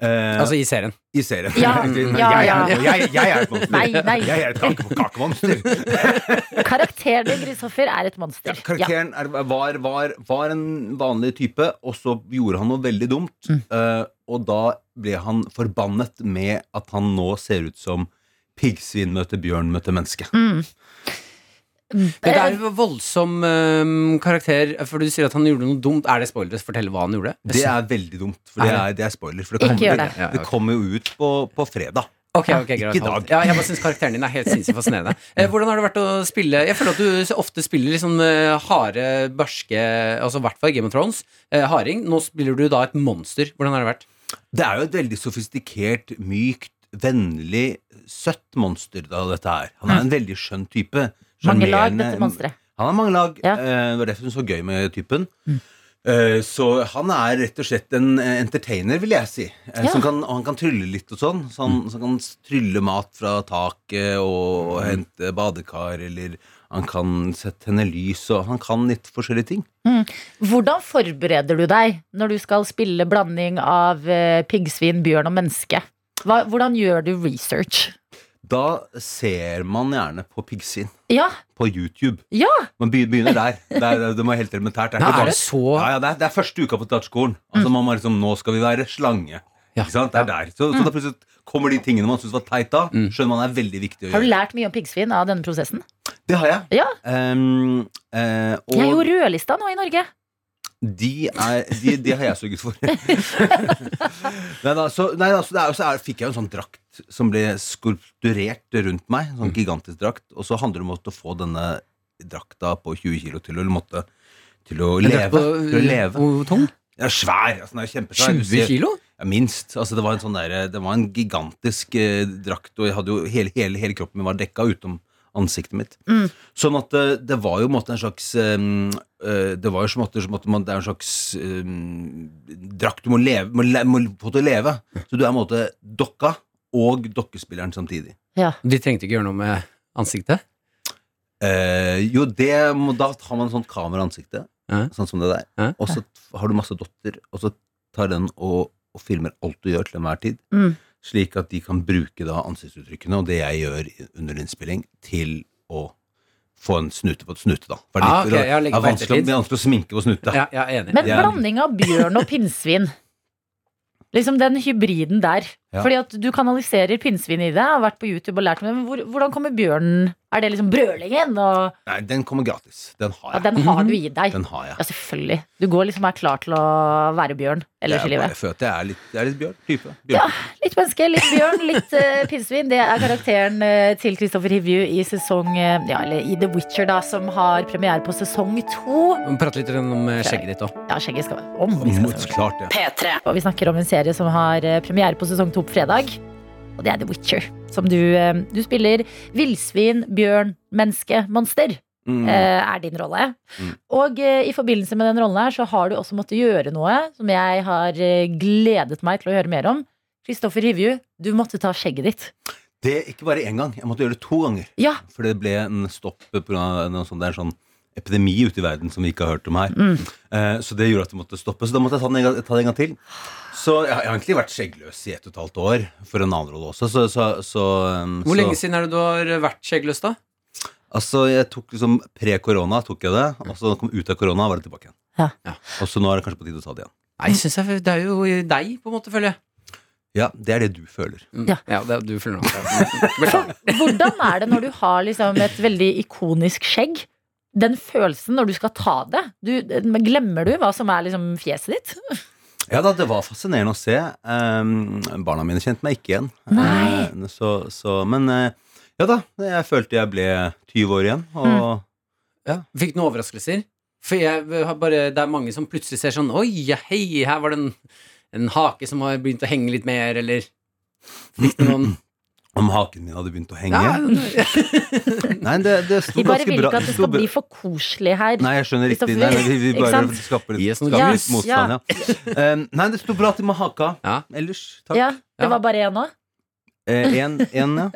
S8: Eh,
S3: Altså i serien.
S8: I serien.
S2: Ja,
S8: [laughs] Nei,
S2: ja,
S8: jeg,
S2: ja.
S8: Er, jeg, jeg er et monster.
S2: Nei, nei.
S8: Jeg er et kake- kakemonster.
S2: [laughs] Karakteren din, Kristoffer, er et monster. Ja.
S8: Karakteren er, var, var, var en vanlig type, og så gjorde han noe veldig dumt.
S2: Mm.
S8: eh, og da ble han forbannet med at han nå ser ut som piggsvin møter bjørn møter menneske.
S2: Mm.
S3: Men det er jo voldsom øhm, karakter, for du sier at han gjorde noe dumt. Er det spoilers? Fortell hva han gjorde.
S8: Det er veldig dumt, for det er, det er spoiler. For det
S2: Ikke
S8: kommer,
S2: gjør
S8: det,
S2: det.
S8: det kommer jo ut på, på fredag.
S3: Ok, ok, greit.
S8: Ikke i dag.
S3: Ja, jeg bare syns karakteren din er helt sinnssykt
S8: [laughs]
S3: fascinerende. Eh, hvordan har det vært å spille Jeg føler at du så ofte spiller litt sånn eh, harde, barske Altså i hvert fall Game of Thrones. Eh, harding. Nå spiller du da et monster. Hvordan har det vært?
S8: Det er jo et veldig sofistikert, mykt, vennlig, søtt monster, da, dette her. Han er en veldig skjønn type.
S2: Mm. Mange lag,
S8: Sjarmerende-
S2: dette monsteret.
S8: Han har mange lag.
S2: Ja. Mm.
S8: eh, Det var derfor hun så gøy med typen. Eh, Så han er rett og slett en eh, entertainer, vil jeg si. Eh,
S2: Ja. Mm.
S8: Som kan, og han kan trylle litt og sånn. Så han, så han kan s- trylle mat fra taket og, og
S2: Mm.
S8: hente badekar, eller han kan sette henne lys, og han kan litt forskjellige ting.
S2: Hvordan forbereder du deg når du skal spille blanding av eh, piggsvin, bjørn og menneske? Hva, hvordan gjør du research?
S8: Da ser man gjerne på piggsvin
S2: Ja,
S8: på YouTube.
S2: ja!
S8: Man begy- begynner der. Det er, det er helt elementært. Det er
S3: Nei,
S8: ikke
S3: er
S8: bare-
S3: det så
S8: Ja, ja, det, er, det er første uka på teaterskolen. Altså,
S2: Mm.
S8: man må liksom, Nå skal vi være slange.
S3: Ja.
S8: Ikke sant? Det er der. Så,
S2: Mm.
S8: så da plutselig kommer de tingene man syns var teit da, skjønner man er veldig viktig å
S2: Har du
S8: gjøre.
S2: lært mye om piggsvin av denne prosessen?
S8: Det har jeg.
S2: Ja.
S8: Ehm, eh, og
S2: Jeg er jo rødlista nå i Norge.
S8: de, er, de, de har jeg sørget for. nei da, så, nei, da, så, det er, så er, fikk jeg jo en sånn drakt som ble skulpturert rundt meg. En sånn gigantisk drakt. Og så handler det om å få denne drakta på 20 kilo til å, måtte, til å
S3: Jeg
S8: leve.
S3: drakk på
S8: Til å leve.
S3: Hvor tung?
S8: Den er svær. Altså, den er jo kjempesvær. Du
S3: 20
S8: ser-
S3: kilo?
S8: Ja, minst. Altså, det, var en sånn der, det var en gigantisk eh, drakt, og jeg hadde jo hele, hele, hele kroppen min var dekka utenom ansiktet mitt.
S2: Mm.
S8: Sånn at eh, det var jo på en måte en slags eh, eh, Det var jo som at som at man, det er en slags eh, drakt du må, leve, må, le- må få til å leve. Så du er på en måte dokka og dokkespilleren samtidig.
S3: De trengte ikke gjøre noe med ansiktet?
S8: Eh, jo, det må, da har man sånt kamera i ansiktet,
S3: Ja.
S8: sånn som det der.
S3: Ja.
S8: Og så t- har du masse dotter, og så tar den og, og filmer alt du gjør til enhver tid.
S2: Mm.
S8: Slik at de kan bruke da ansiktsuttrykkene og det jeg gjør i- under innspilling, til å få en snute på et snute, da. For det er
S3: Ah,
S8: litt-
S3: ok, ja,
S8: det
S3: legge
S8: er
S3: på
S8: vanskelig,
S3: ettertid.
S8: det er vanskelig å sminke på snute.
S3: Ja, jeg er enig.
S2: Men
S8: Jeg er-
S2: blanding av bjørn og pinnsvin.
S8: [laughs]
S2: Liksom den hybriden der.
S8: Ja.
S2: Fordi at du kanaliserer pinnsvin i det. Jeg har vært på YouTube og lært meg men hvor, Hvordan kommer bjørnen? Er det liksom brølingen? Og,
S8: Nei, den kommer gratis. Den har
S2: ja,
S8: jeg.
S2: den har du i deg.
S8: Den har jeg.
S2: Ja, selvfølgelig. Du går liksom og er klar til å være bjørn ellers i
S8: jeg, bare
S2: livet.
S8: føler at jeg er litt, jeg er litt bjørn. Type. Bjørn.
S2: Ja. Litt menneske, litt bjørn, litt uh, pinnsvin. Det er karakteren eh, til Kristoffer Hivju i sesong eh, Ja, eller i The Witcher, da, som har premiere på sesong to.
S3: Vi må prate litt om eh, skjegget ditt òg.
S2: Ja, skjegget skal være om. Vi skal
S8: Mot, klart det.
S5: P3.
S2: Og vi snakker om en serie som har eh, premiere på sesong to på fredag. Og det er The Witcher. Som du, eh, du spiller villsvin, bjørn, menneske, monster.
S8: Mm.
S2: eh, Er din rolle.
S8: Mm.
S2: Og eh, i forbindelse med den rollen her så har du også måttet gjøre noe som jeg har eh, gledet meg til å høre mer om. Kristoffer Hivju, du måtte ta skjegget ditt.
S8: Det Ikke bare én gang. Jeg måtte gjøre det to ganger.
S2: Ja,
S8: For det ble en stopp pga. en sånn, det er en sånn epidemi ute i verden som vi ikke har hørt om her. Eh, så det gjorde at det måtte stoppe. Så da måtte jeg ta, den en, gang- ta det en gang til. Så jeg har egentlig vært skjeggløs i ett og et halvt år for en annen rolle også. Så, så, så, um,
S3: Hvor
S8: så,
S3: lenge siden er det du har vært skjeggløs, da?
S8: Altså, jeg tok liksom Pre-korona tok jeg det, og så kom ut av korona var det tilbake igjen.
S2: Ja.
S3: Ja.
S8: Og så nå er det kanskje på tide å ta det igjen.
S3: Nei, synes jeg, Det er jo deg, på en måte, føler jeg.
S8: Ja, det er det du føler.
S3: Mm.
S2: Ja.
S3: Ja, det, [laughs] du føler noe. Beklager.
S2: Hvordan er det når du har liksom et veldig ikonisk skjegg? Den følelsen når du skal ta det. Du, glemmer du hva som er liksom fjeset ditt?
S8: Ja da, det var fascinerende å se. Ehm, barna mine kjente meg ikke igjen.
S2: Nei.
S8: Ehm, så, så, men eh, ja da, jeg følte jeg ble 20 år igjen. Og
S2: Mm.
S3: Fikk du noen overraskelser? For jeg har bare, det er mange som plutselig ser sånn Oi, ja, hei, her var det en, en hake som har begynt å henge litt mer, eller Fikk du noen
S8: om haken min hadde begynt å henge.
S3: [laughs] ja,
S8: Nei, det, det sto
S2: Vi bare
S8: ganske
S2: vil
S8: bra.
S2: ikke at det
S8: sto
S2: skal
S8: bra-
S2: bli for koselig her.
S8: Nei, jeg skjønner
S2: Kristoffer,
S8: riktig. Nei, nei, vi, vi
S2: ikke
S8: bare
S2: sant?
S8: skaper litt,
S3: Gi oss noen
S8: skaper
S2: juice.
S8: litt motstand, ja. Ehm, nei, det sto bra til med haka.
S3: Ja.
S8: Ellers, takk.
S2: Ja,
S3: Ja.
S2: det var bare én òg?
S8: Én, ja.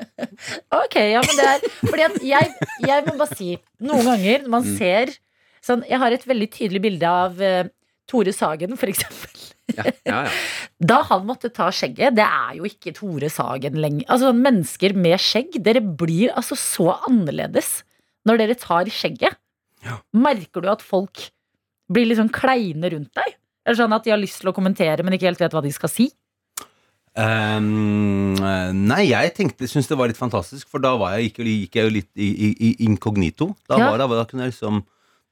S2: Ok, ja, men det er Fordi at jeg, jeg må bare si Noen ganger når man
S8: Mm.
S2: ser sånn, Jeg har et veldig tydelig bilde av eh, Tore Sagen, for eksempel.
S3: ja, ja, ja.
S2: Da han måtte ta skjegget Det er jo ikke Tore Sagen lenger. Altså, sånn, mennesker med skjegg, dere blir altså så annerledes når dere tar skjegget.
S8: Ja.
S2: Merker du at folk blir liksom kleine rundt deg? Eller sånn at de har lyst til å kommentere, men ikke helt vet hva de skal si?
S8: Ehm, eh, nei, jeg tenkte, syntes det var litt fantastisk, for da var jeg, gikk, jo- gikk jeg jo litt i, i, i inkognito. Da,
S2: Ja.
S8: var, det- da kunne jeg liksom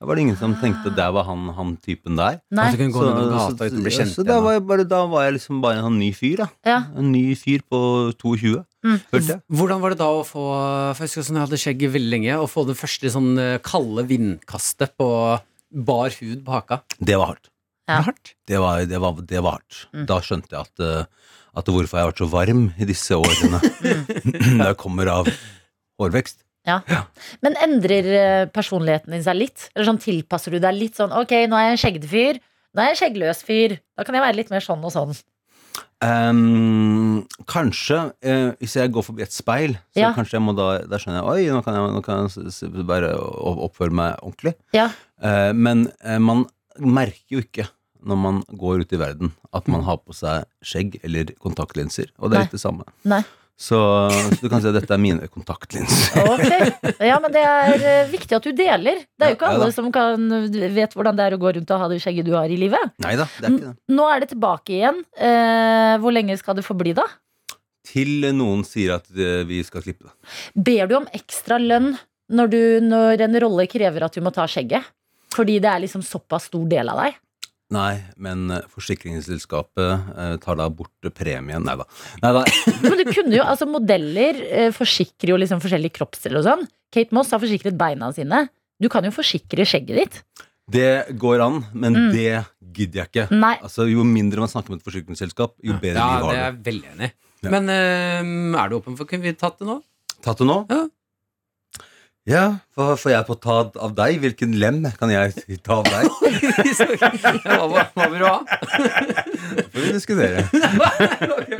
S8: Da var det ingen som tenkte der var han, han typen der.
S2: Nei.
S3: At du Altså, kunne gå ned noen gata uten å bli
S8: så-
S3: kjent
S8: så da,
S3: igjen,
S8: var jeg bare, da var jeg liksom bare en sånn ny fyr, da.
S2: Ja.
S8: En ny fyr på 22.
S2: Mm.
S8: Hørte jeg.
S3: Hvordan var det da å få For jeg husker sånn, jeg hadde skjegg veldig lenge, å få det første sånn eh, kalde vindkastet på bar hud på haka.
S8: Det var hardt.
S2: Ja.
S3: Var det hardt?
S8: Det var, det var, det var hardt.
S2: Mm.
S8: Da skjønte jeg at, eh, at hvorfor jeg har vært så varm i
S2: [laughs]
S8: disse årene.
S2: Mm.
S8: [clears throat] det kommer av hårvekst.
S2: Men endrer eh, personligheten din seg litt? Eller sånn tilpasser du deg litt sånn Ok, nå er jeg en skjeggete fyr. Nå er jeg en skjeggløs fyr. Da kan jeg være litt mer sånn og sånn.
S8: Ehm, kanskje, eh, hvis jeg går forbi et speil, så
S2: Ja.
S8: kanskje jeg må da Da skjønner jeg Oi, nå kan jeg, nå kan jeg s- s- bare o- oppføre meg ordentlig.
S2: Ja.
S8: Eh, men eh, man merker jo ikke når man går ut i verden, at man har på seg skjegg eller kontaktlinser. Og det er
S2: Nei.
S8: litt det samme.
S2: Nei.
S8: Så, så du kan si at dette er
S2: [laughs]
S8: mine kontaktlinser.
S2: Ok. Ja, men det er eh, viktig at du deler. Det er jo ikke
S8: Ja, ja da.
S2: alle som kan, eh, vet hvordan det er å gå rundt og ha det skjegget du har i livet.
S8: Nei da, det er ikke det.
S2: Nå er det tilbake igjen. Eh, hvor lenge skal du forbli, da?
S8: Til noen sier at eh, vi skal klippe det.
S2: Ber du om ekstra lønn når, du, når en rolle krever at du må ta skjegget? Fordi det er liksom såpass stor del av deg?
S8: Nei, men eh, forsikringsselskapet eh, tar da bort premien. Nei da. Nei da.
S2: Men du kunne jo, altså Modeller eh, forsikrer jo liksom forskjellige kroppsdeler og sånn. Kate Moss har forsikret beina sine. Du kan jo forsikre skjegget ditt.
S8: Det går an, men
S2: Mm.
S8: det gidder jeg ikke.
S2: Nei.
S8: Altså, Jo mindre man snakker med et forsikringsselskap, jo bedre
S3: Ja, det
S8: liv har
S3: er
S8: du.
S3: jeg veldig enig i.
S8: Ja.
S3: Men øhm, er du åpen for Kunne vi tatt det nå? [laughs]
S8: Tatt det nå?
S3: Ja.
S8: Ja, hva får jeg på ta av deg? Hvilken lem kan jeg ta av
S2: [laughs]
S8: deg?
S3: Ja, hva, hva, hva vil du ha?
S8: Det får vi diskutere.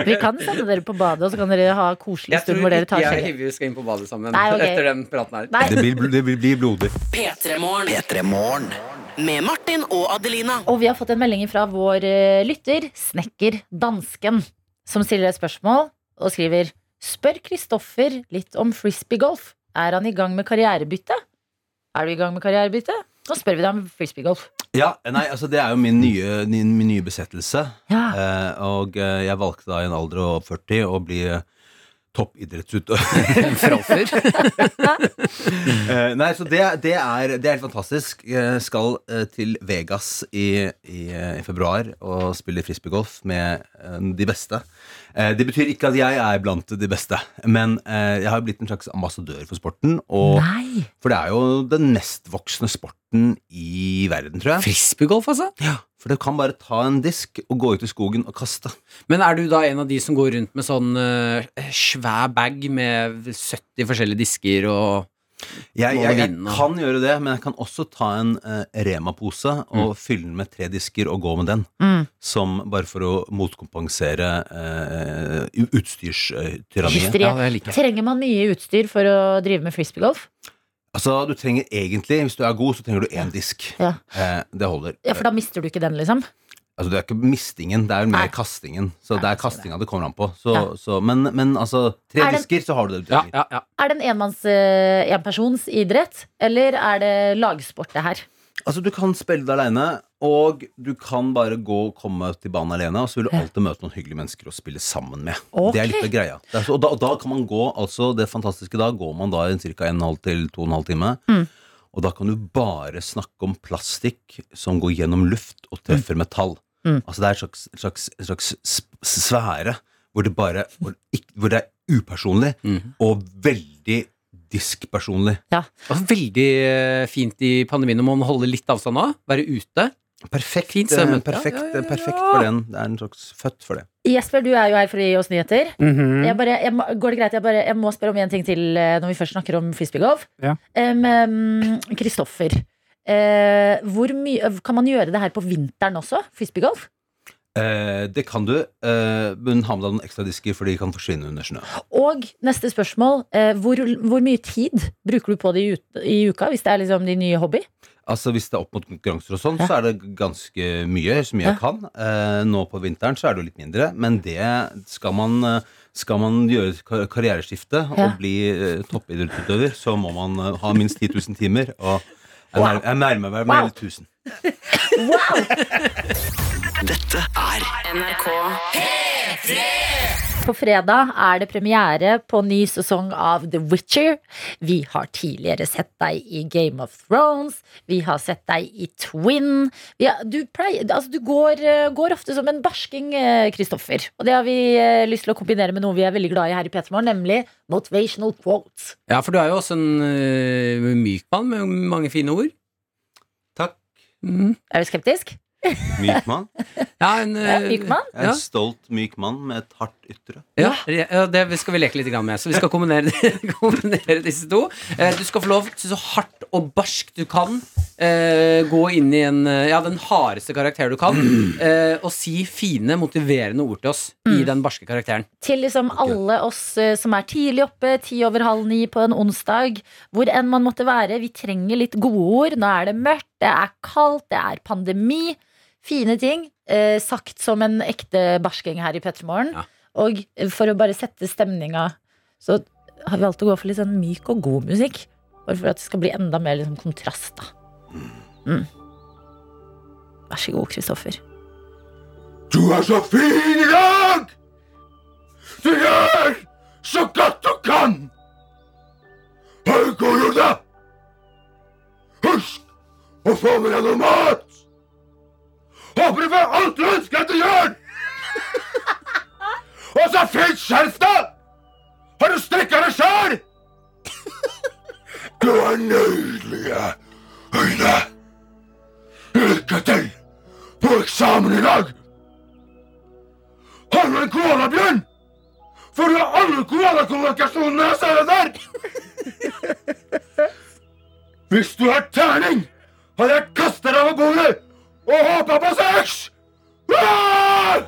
S2: Vi kan sende dere på badet, og så kan dere ha koselig
S3: Jeg tror
S2: stund hvor dere
S3: ikke
S2: tar
S3: jeg og
S2: skjegget.
S3: Hivju skal inn på badet sammen
S2: Nei, ok.
S3: etter den praten her.
S2: Nei.
S8: Det blir, bl- det blir- blir blodig.
S5: P3morgen. Med Martin og Adelina.
S2: Og vi har fått en melding fra vår eh, lytter, snekker dansken, som stiller et spørsmål og skriver Spør Kristoffer litt om frisbeegolf. Er han i gang med karrierebytte? Er du i gang med karrierebytte? Nå spør vi deg om frisbeegolf.
S8: Ja, nei, altså Det er jo min nye, min, min nye besettelse.
S2: Ja.
S8: Eh, og eh, jeg valgte da i en alder av 40 å bli eh, toppidrettsutøver. Eh, nei, så det, det, er, det er helt fantastisk. Jeg skal eh, til Vegas i, i, eh, i februar og spille frisbeegolf med eh, de beste. Eh, det betyr ikke at jeg er blant de beste, men eh, jeg har blitt en slags ambassadør for sporten. Og,
S2: Nei!
S8: for det er jo den mestvoksende sporten i verden, tror jeg.
S3: Frisbeegolf, altså?
S8: For du kan bare ta en disk og gå ut i skogen og kaste.
S3: Men er du da en av de som går rundt med sånn øh, svær bag med 70 forskjellige disker og Må
S8: Jeg, jeg, jeg
S3: vinne.
S8: kan gjøre det, men jeg kan også ta en eh, Rema-pose
S3: Mm.
S8: og fylle den med tre disker og gå med den.
S2: Mm.
S8: Som bare for å motkompensere eh, u- utstyrstyranniet.
S2: Hysteri.
S3: det liker jeg.
S2: Trenger man mye utstyr for å drive med frisbeegolf?
S8: Altså, du trenger egentlig, hvis du er god, så trenger du én disk.
S2: Ja.
S8: Eh, det holder.
S2: Ja, for da mister du ikke den, liksom?
S8: Altså, det er ikke mistingen, det er jo
S2: Nei.
S8: mer kastingen. Så det
S2: Nei, jeg
S8: er
S2: ser
S8: kastinga det kommer an på. Så,
S2: Ja.
S8: så, men, men altså, tre
S2: Er det-
S8: disker, så har du det du
S3: Ja,
S8: trenger.
S3: ja, ja.
S2: Er det en enmanns, eh, enpersons idrett, eller er det lagsport, det her?
S8: Altså, du kan spille det aleine, og du kan bare gå og komme til banen alene, og så vil du alltid møte noen hyggelige mennesker å spille sammen med.
S2: Ok.
S8: Det er litt av greia. Det er så, og, da, og da kan man gå, altså det fantastiske da, går man da i ca. 1 12 til 2 12 time,
S2: Mm.
S8: og da kan du bare snakke om plastikk som går gjennom luft og treffer metall.
S2: Mm.
S8: Altså det er en slags, en slags, en slags s- sfære hvor det bare hvor, ikk- hvor det er upersonlig
S3: Mhm.
S8: og veldig diskpersonlig.
S3: Og veldig øh, fint i pandemien om man holder litt avstand nå. Være ute.
S8: Perfekt,
S3: Fint stemme.
S8: eh, perfekt,
S3: Ja, ja, ja, ja.
S8: perfekt for den. Det er en slags født for det.
S2: Jesper, du er jo her for å gi oss nyheter. jeg bare, jeg, må- går det greit? Jeg, bare, jeg må spørre om en ting til eh, når vi først snakker om frisbeegolf.
S9: Ja.
S2: Em, em, Kristoffer, eh, hvor mye kan man gjøre det her på vinteren også? Frisbeegolf?
S8: Eh, det kan du, eh, men ha med deg noen ekstra disker, for de kan forsvinne under snø.
S2: Og neste spørsmål, eh, hvor, hvor mye tid bruker du på det i, ut, i uka, hvis det er liksom din nye hobby?
S8: Altså Hvis det er opp mot konkurranser og sånn,
S2: Ja.
S8: så er det ganske mye, så
S2: Ja.
S8: mye jeg kan. Eh, nå på vinteren så er det jo litt mindre, men det skal man eh, skal man gjøre et kar- karriereskifte
S2: Ja.
S8: og bli eh, toppidrettsutøver, så må man eh, ha minst 10 000 timer. Og jeg
S2: Wow.
S8: nærmer- jeg nærmer
S2: Wow.
S8: meg med hele 1000.
S5: Dette er NRK.
S2: På fredag er det premiere på ny sesong av The Witcher. Vi har tidligere sett deg i Game of Thrones. Vi har sett deg i Twin. Vi har, du pleier, altså du går, eh, går ofte som en barsking, eh, Kristoffer. Og det har vi eh, lyst til å kombinere med noe vi er veldig glad i her i Petermorgen, nemlig motivational quotes.
S3: Ja, for du er jo også en øh, myk mann med mange fine ord.
S8: Takk,
S3: Mhm.
S2: Er du skeptisk?
S8: myk mann.
S3: Ja, en,
S2: Ja,
S3: øh,
S2: myk mann?
S8: Jeg er
S3: Ja.
S8: en stolt myk mann med et hardt ytre.
S3: Ja, ja, det skal vi leke litt grann med. Så vi skal kombinere, [laughs] kombinere disse to. Eh, Du skal få lov til så hardt og barskt du kan eh, gå inn i en, eh, ja, den hardeste karakter du
S8: [clears throat]
S3: kan, eh, og si fine, motiverende ord til oss
S2: Mm.
S3: i den barske karakteren.
S2: Til liksom alle oss eh, som er tidlig oppe, ti over halv ni på en onsdag. Hvor enn man måtte være. Vi trenger litt gode ord. Nå er det mørkt, det er kaldt, det er pandemi. Fine ting. Eh, sagt som en ekte barsking her i P3 Morgen.
S3: Ja.
S2: Og eh, for å bare sette stemninga, så har vi valgt å gå for litt sånn myk og god musikk. Bare for at det skal bli enda mer liksom, kontrast, da. Mm. Vær så god, Kristoffer.
S8: Du er så fin i dag! Du gjør så godt du kan! Hauk og Jode! Husk å få med deg noe mat! Håper du får alt du ønsker etter jul! og så fint skjerf deg! Har du strikka deg sjøl? Du har nydelige øyne. Lykke til på eksamen i dag! Har du en koalabjørn? For du har alle koalakonvokasjonene jeg ser der! Hvis du har terning, hadde jeg kasta deg over bordet og håpa på seks! Ah!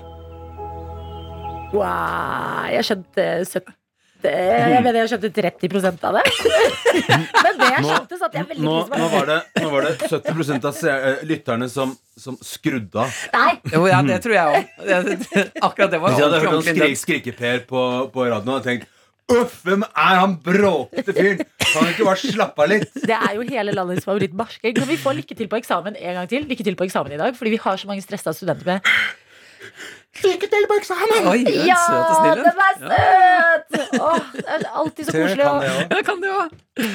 S2: Wow, jeg skjønte 70 jeg mener jeg skjønte 30 av det. [laughs] Men det jeg
S8: Nå-
S2: skjønte, satte jeg veldig
S8: Nå,
S2: pris på.
S8: nå, var det, nå var det 70 av se- eh, lytterne som, som skrudde av.
S2: Nei,
S3: Jo, ja, det tror jeg òg. Akkurat det var
S8: Hvis jeg hadde hørt han
S3: ordentlig
S8: skrik,
S3: intenst.
S8: skrike-Per på, på radioen, hadde jeg tenkt Uff, hvem er han bråkete fyren? Kan han ikke bare slappe av litt?
S2: Det er jo hele landets favorittbarsking. Så vi får lykke til på eksamen en gang til. Lykke til på eksamen i dag, fordi vi har så mange stressa studenter med. Lykke til på eksamen!
S3: Oi, den
S2: Ja,
S3: søte snillen.
S2: den er søt! Åh, det er alltid så koselig. å-
S3: Jeg kan det jo.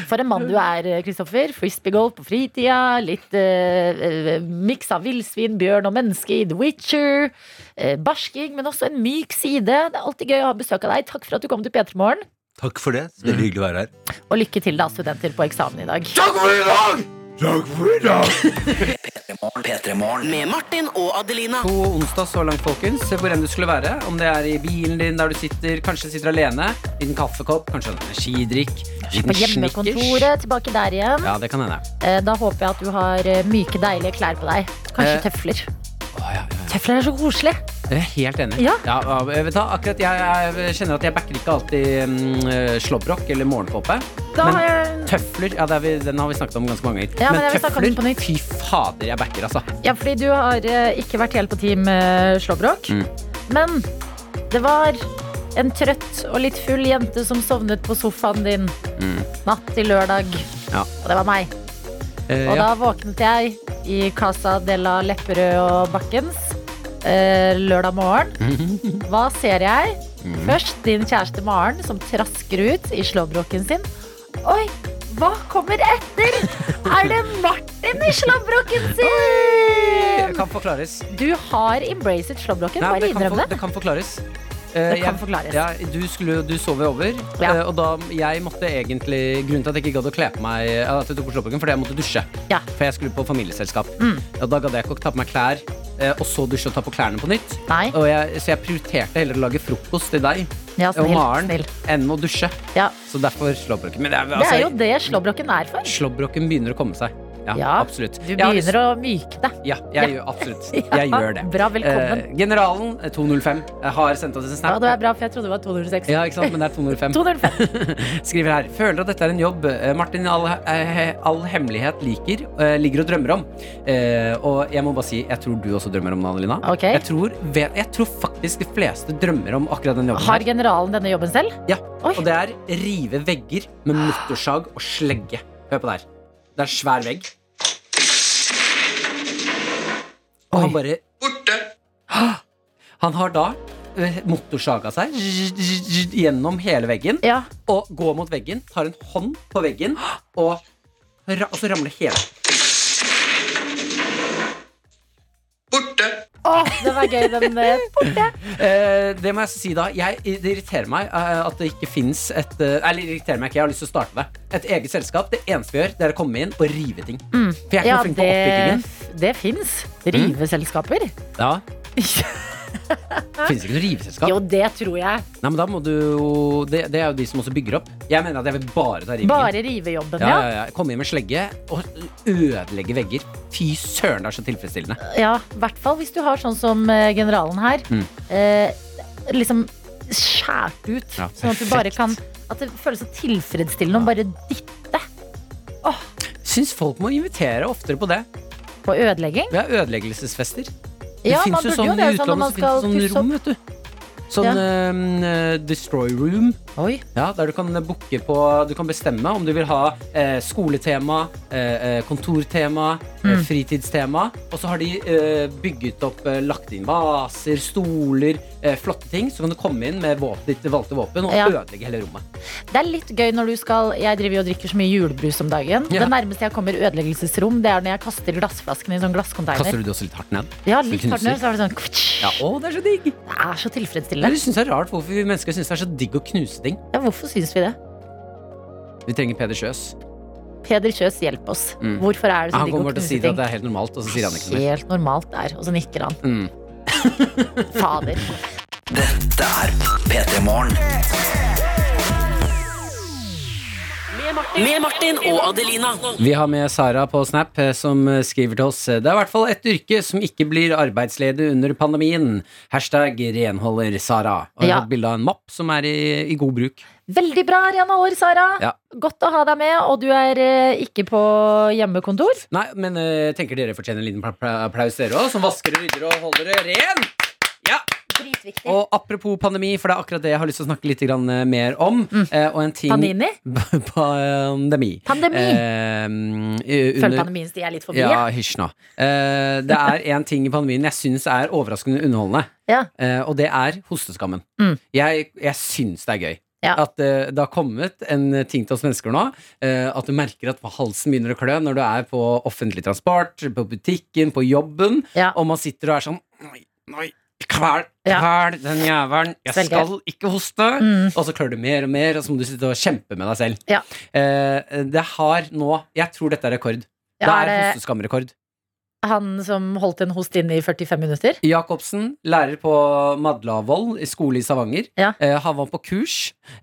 S2: For en mann du er, eh, Kristoffer. Frisbeegolf på fritida. Litt eh, eh, miks av villsvin, bjørn og menneske i The Witcher. eh, barsking, men også en myk side. Det er alltid gøy å ha besøk av deg. Takk for at du kom til P3 Morgen.
S8: Takk for det. Veldig hyggelig å være her.
S2: Og lykke til, da, studenter på eksamen i dag.
S8: Takk for i dag! Takk for i dag!
S5: P3morgen. Med Martin og Adelina.
S3: God onsdag så langt, folkens. Se hvor enn du skulle være. Om det er i bilen din der du sitter, kanskje sitter alene. Liten kaffekopp, kanskje en energidrikk. Liten
S2: På
S3: snickers.
S2: hjemmekontoret, tilbake der igjen.
S3: Ja, det kan hende.
S2: Eh, da håper jeg at du har eh, myke, deilige klær på deg. Kanskje
S3: Eh.
S2: tøfler.
S3: Å, ja, ja.
S2: Tøfler er så koselig.
S3: Jeg er helt enig.
S2: Ja.
S3: Ja, vet du, hva, akkurat jeg, jeg kjenner at jeg backer ikke alltid mm, slåbrok eller morgenkåpe.
S2: Da
S3: Men-
S2: har jeg
S3: Tøfler, ja, det er vi, den har vi snakket om ganske mange ganger.
S2: Ja, men jeg vil snakke om
S3: tøfler,
S2: det på nytt.
S3: fy fader, jeg backer, altså.
S2: Ja, fordi du har eh, ikke vært helt på team eh, slåbrok.
S3: Mm.
S2: Men det var en trøtt og litt full jente som sovnet på sofaen din natt til lørdag.
S3: Mm. Ja.
S2: Og det var meg.
S3: Eh,
S2: Og
S3: ja.
S2: da våknet jeg i Casa de la Lepperød og Bakkens eh, lørdag
S3: [laughs]
S2: morgen. Hva ser jeg?
S3: Mm.
S2: Først din kjæreste Maren som trasker ut i slåbroken sin. Oi, hva kommer etter?
S3: [laughs]
S2: er det Martin i slåbroken sin?
S3: Det kan forklares.
S2: Du har embraced slåbroken,
S3: Nei,
S2: bare
S3: det, kan
S2: innrøm
S3: for,
S2: det.
S3: det kan forklares.
S2: Det
S3: Eh,
S2: kan
S3: jeg-
S2: forklares.
S3: Ja, du, skulle, du sov jo over,
S2: Ja.
S3: eh, og da jeg måtte egentlig Grunnen til at jeg ikke gadd å kle på meg eh, At jeg tok på slåbroken, fordi jeg måtte dusje.
S2: Ja. Mm.
S3: For jeg skulle på familieselskap. Og da gadd jeg ikke å ta på meg klær, eh, og så dusje og ta på klærne på nytt.
S2: Nei,
S3: Og jeg, så jeg prioriterte heller å lage frokost til deg
S2: ja,
S3: og
S2: snill,
S3: Maren
S2: Altså, snill.
S3: enn å dusje.
S2: Ja.
S3: Så derfor slåbroken. Men det er,
S2: Det
S3: altså,
S2: er jo det slåbroken er for.
S3: slåbroken begynner å komme seg. Ja,
S2: Ja,
S3: absolutt.
S2: Du
S3: Jeg har lyst-
S2: begynner å myke deg.
S3: Ja, jeg gjør absolutt.
S2: [laughs]
S3: Jeg gjør det.
S2: Bra, velkommen.
S3: Eh, generalen, eh, 205, eh, har sendt oss en
S2: Ja,
S3: snap.
S2: det er bra, for jeg trodde det var 206.
S3: Ja, ikke
S2: [laughs]
S3: sant, men det er 205.
S2: 205.
S3: Skriver her Føler at dette er en jobb eh, Martin i all, eh, all hemmelighet liker eh, Ligger og drømmer om Eh, Og jeg må bare si Jeg tror du også drømmer om den, Adelina
S2: Ok.
S3: jeg, tror, vet, jeg tror faktisk de fleste drømmer om akkurat den jobben
S2: Har generalen denne jobben selv?
S3: Ja.
S2: Oi.
S3: her Og det er rive vegger med motorsag og slegge Hør på det her Det er svær vegg Og han bare Hå! Han har da eh, motorsaga seg Gjennom hele veggen
S2: Ja.
S3: og går mot veggen, tar en hånd på veggen, og, ra og så ramler hele.
S2: Å, den var gøy,
S3: [laughs]
S2: den. eh,
S3: Eh, det må jeg si da. Jeg, det irriterer meg eh, at det ikke fins et eh, Eller det irriterer meg ikke, jeg har lyst til å starte det. Et eget selskap. Det eneste vi gjør, det er å komme inn og rive ting. For
S2: Mm. eh,
S3: jeg er ikke
S2: Ja,
S3: noe flink på
S2: det,
S3: oppbyggingen.
S2: [laughs] det fins. Riveselskaper.
S3: Ja. Finnes ikke noe riveselskap?
S2: Jo, det tror jeg.
S3: Nei, men da må du jo det, det er jo de som også bygger opp. Jeg mener at jeg vil bare ta rivingen.
S2: Bare rivejobben,
S3: Ja,
S2: ja.
S3: ja, ja. Komme inn med slegge og ødelegge vegger. Fy søren, det er så tilfredsstillende.
S2: Ja, i hvert fall hvis du har sånn som eh, generalen her.
S3: Mm.
S2: Eh, liksom skjært ut.
S3: Ja,
S2: sånn at du bare kan At det føles så tilfredsstillende å bare dytte
S3: Syns folk må invitere oftere på det.
S2: på ødelegging.
S3: Vi har ødeleggelsesfester. Det
S2: Ja, man
S3: fins jo
S2: burde jo
S3: sånn i
S2: det, sånn når man
S3: utlandet,
S2: skal
S3: så finnes det sånn
S2: pusse
S3: rom, vet du. Sånn
S2: Ja.
S3: ehm, eh, Destroy Room,
S2: Oi.
S3: ja, der du kan booke på Du kan bestemme om du vil ha eh, skoletema, eh, eh, kontortema,
S2: Mm.
S3: eh, fritidstema. Og så har de eh, bygget opp, eh, lagt inn vaser, stoler, eh, flotte ting. Så kan du komme inn med våp, ditt valgte våpen og
S2: Ja.
S3: ødelegge hele rommet.
S2: Det er litt gøy når du skal Jeg driver jo og drikker så mye julebrus om dagen.
S3: Ja.
S2: Det nærmeste jeg kommer ødeleggelsesrom, det er når jeg kaster glassflaskene i en sånn
S3: Kaster
S2: glasscontainer.
S3: du det også litt hardt ned?
S2: Ja,
S3: så
S2: litt
S3: du
S2: hardt ned,
S3: knuser?
S2: så er det sånn kvitsj.
S3: Ja, å, det er så digg!
S2: Det er så tilfredsstillende.
S3: Jeg synes det er rart hvorfor vi mennesker syns det er så digg å knuse ting.
S2: Ja, hvorfor syns vi det?
S3: Vi trenger Peder Sjøs.
S2: Peder Kjøs, hjelp oss.
S3: Mm.
S2: Hvorfor er det så
S3: Han
S2: digg å
S3: kommer til å
S2: knuse
S3: si det
S2: ting?
S3: at det er helt normalt, og så sier han ikke noe mer.
S2: Helt normalt der. Og så nikker han.
S3: Mm.
S2: [laughs] Fader.
S5: Dette er P3 Morgen. Med Martin og Adelina.
S3: Vi har med Sara på Snap eh, som eh, skriver til oss Det er i hvert fall et yrke som ikke blir arbeidsledig under pandemien. Hashtag renholder Sara. Og hun
S2: Ja.
S3: har fått bilde av en mapp som er i, i god bruk.
S2: Veldig bra, Rena Hår, Sara.
S3: Ja.
S2: Godt å ha deg med. Og du er eh, ikke på hjemmekontor.
S3: Nei, men eh, tenker dere fortjener en liten pla- pla- applaus, dere òg, som vasker og rydder og holder det rent? Ja.
S2: Dritviktig.
S3: Og apropos pandemi, for det er akkurat det jeg har lyst til å snakke litt grann, eh, mer om. Eh, og en ting
S2: Panini?
S3: [laughs] Pandemi.
S2: Mm. Pandemi.
S3: Eh, mm, under-
S2: Føler pandemien steg litt forbi.
S3: Ja, hysj nå. Eh, det er én ting i pandemien jeg syns er overraskende underholdende,
S2: Ja.
S3: eh, og det er hosteskammen.
S2: Mm.
S3: Jeg, jeg syns det er gøy.
S2: Ja.
S3: At eh, det har kommet en ting til oss mennesker nå. eh, at du merker at halsen begynner å klø når du er på offentlig transport, på butikken, på jobben,
S2: Ja.
S3: og man sitter og er sånn Nei, nei, kvel,
S2: Ja.
S3: kvel den jævelen. Jeg
S2: Svelge.
S3: skal ikke hoste.
S2: Mm.
S3: Og så klør du mer og mer, og så må du sitte og kjempe med deg selv.
S2: Ja.
S3: Eh, det har nå Jeg tror dette er rekord. Det
S2: Ja,
S3: er
S2: er det
S3: hosteskamrekord.
S2: han som holdt en host inne i 45 minutter?
S3: Jacobsen, lærer på Madlavoll i skole i Stavanger.
S2: Ja.
S3: Eh, han var på kurs,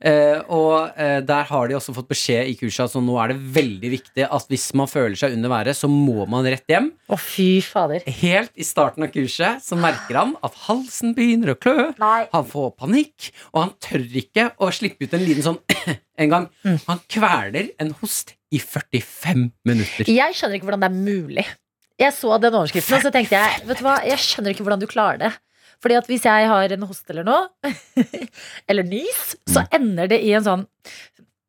S3: eh, og eh, der har de også fått beskjed i kurset at altså, nå er det veldig viktig at hvis man føler seg under været, så må man rett hjem.
S2: Å, fy fader.
S3: Helt i starten av kurset så merker han at halsen begynner å klø.
S2: Nei.
S3: Han får panikk, og han tør ikke å slippe ut en liten sånn [coughs] en gang.
S2: Mm.
S3: Han kveler en host i 45 minutter.
S2: Jeg skjønner ikke hvordan det er mulig. Jeg så den overskriften, og så tenkte jeg Vet du hva, jeg skjønner ikke hvordan du klarer det. Fordi at hvis jeg har en hoste eller noe, [laughs] eller nys, så
S3: Mm.
S2: ender det i en sånn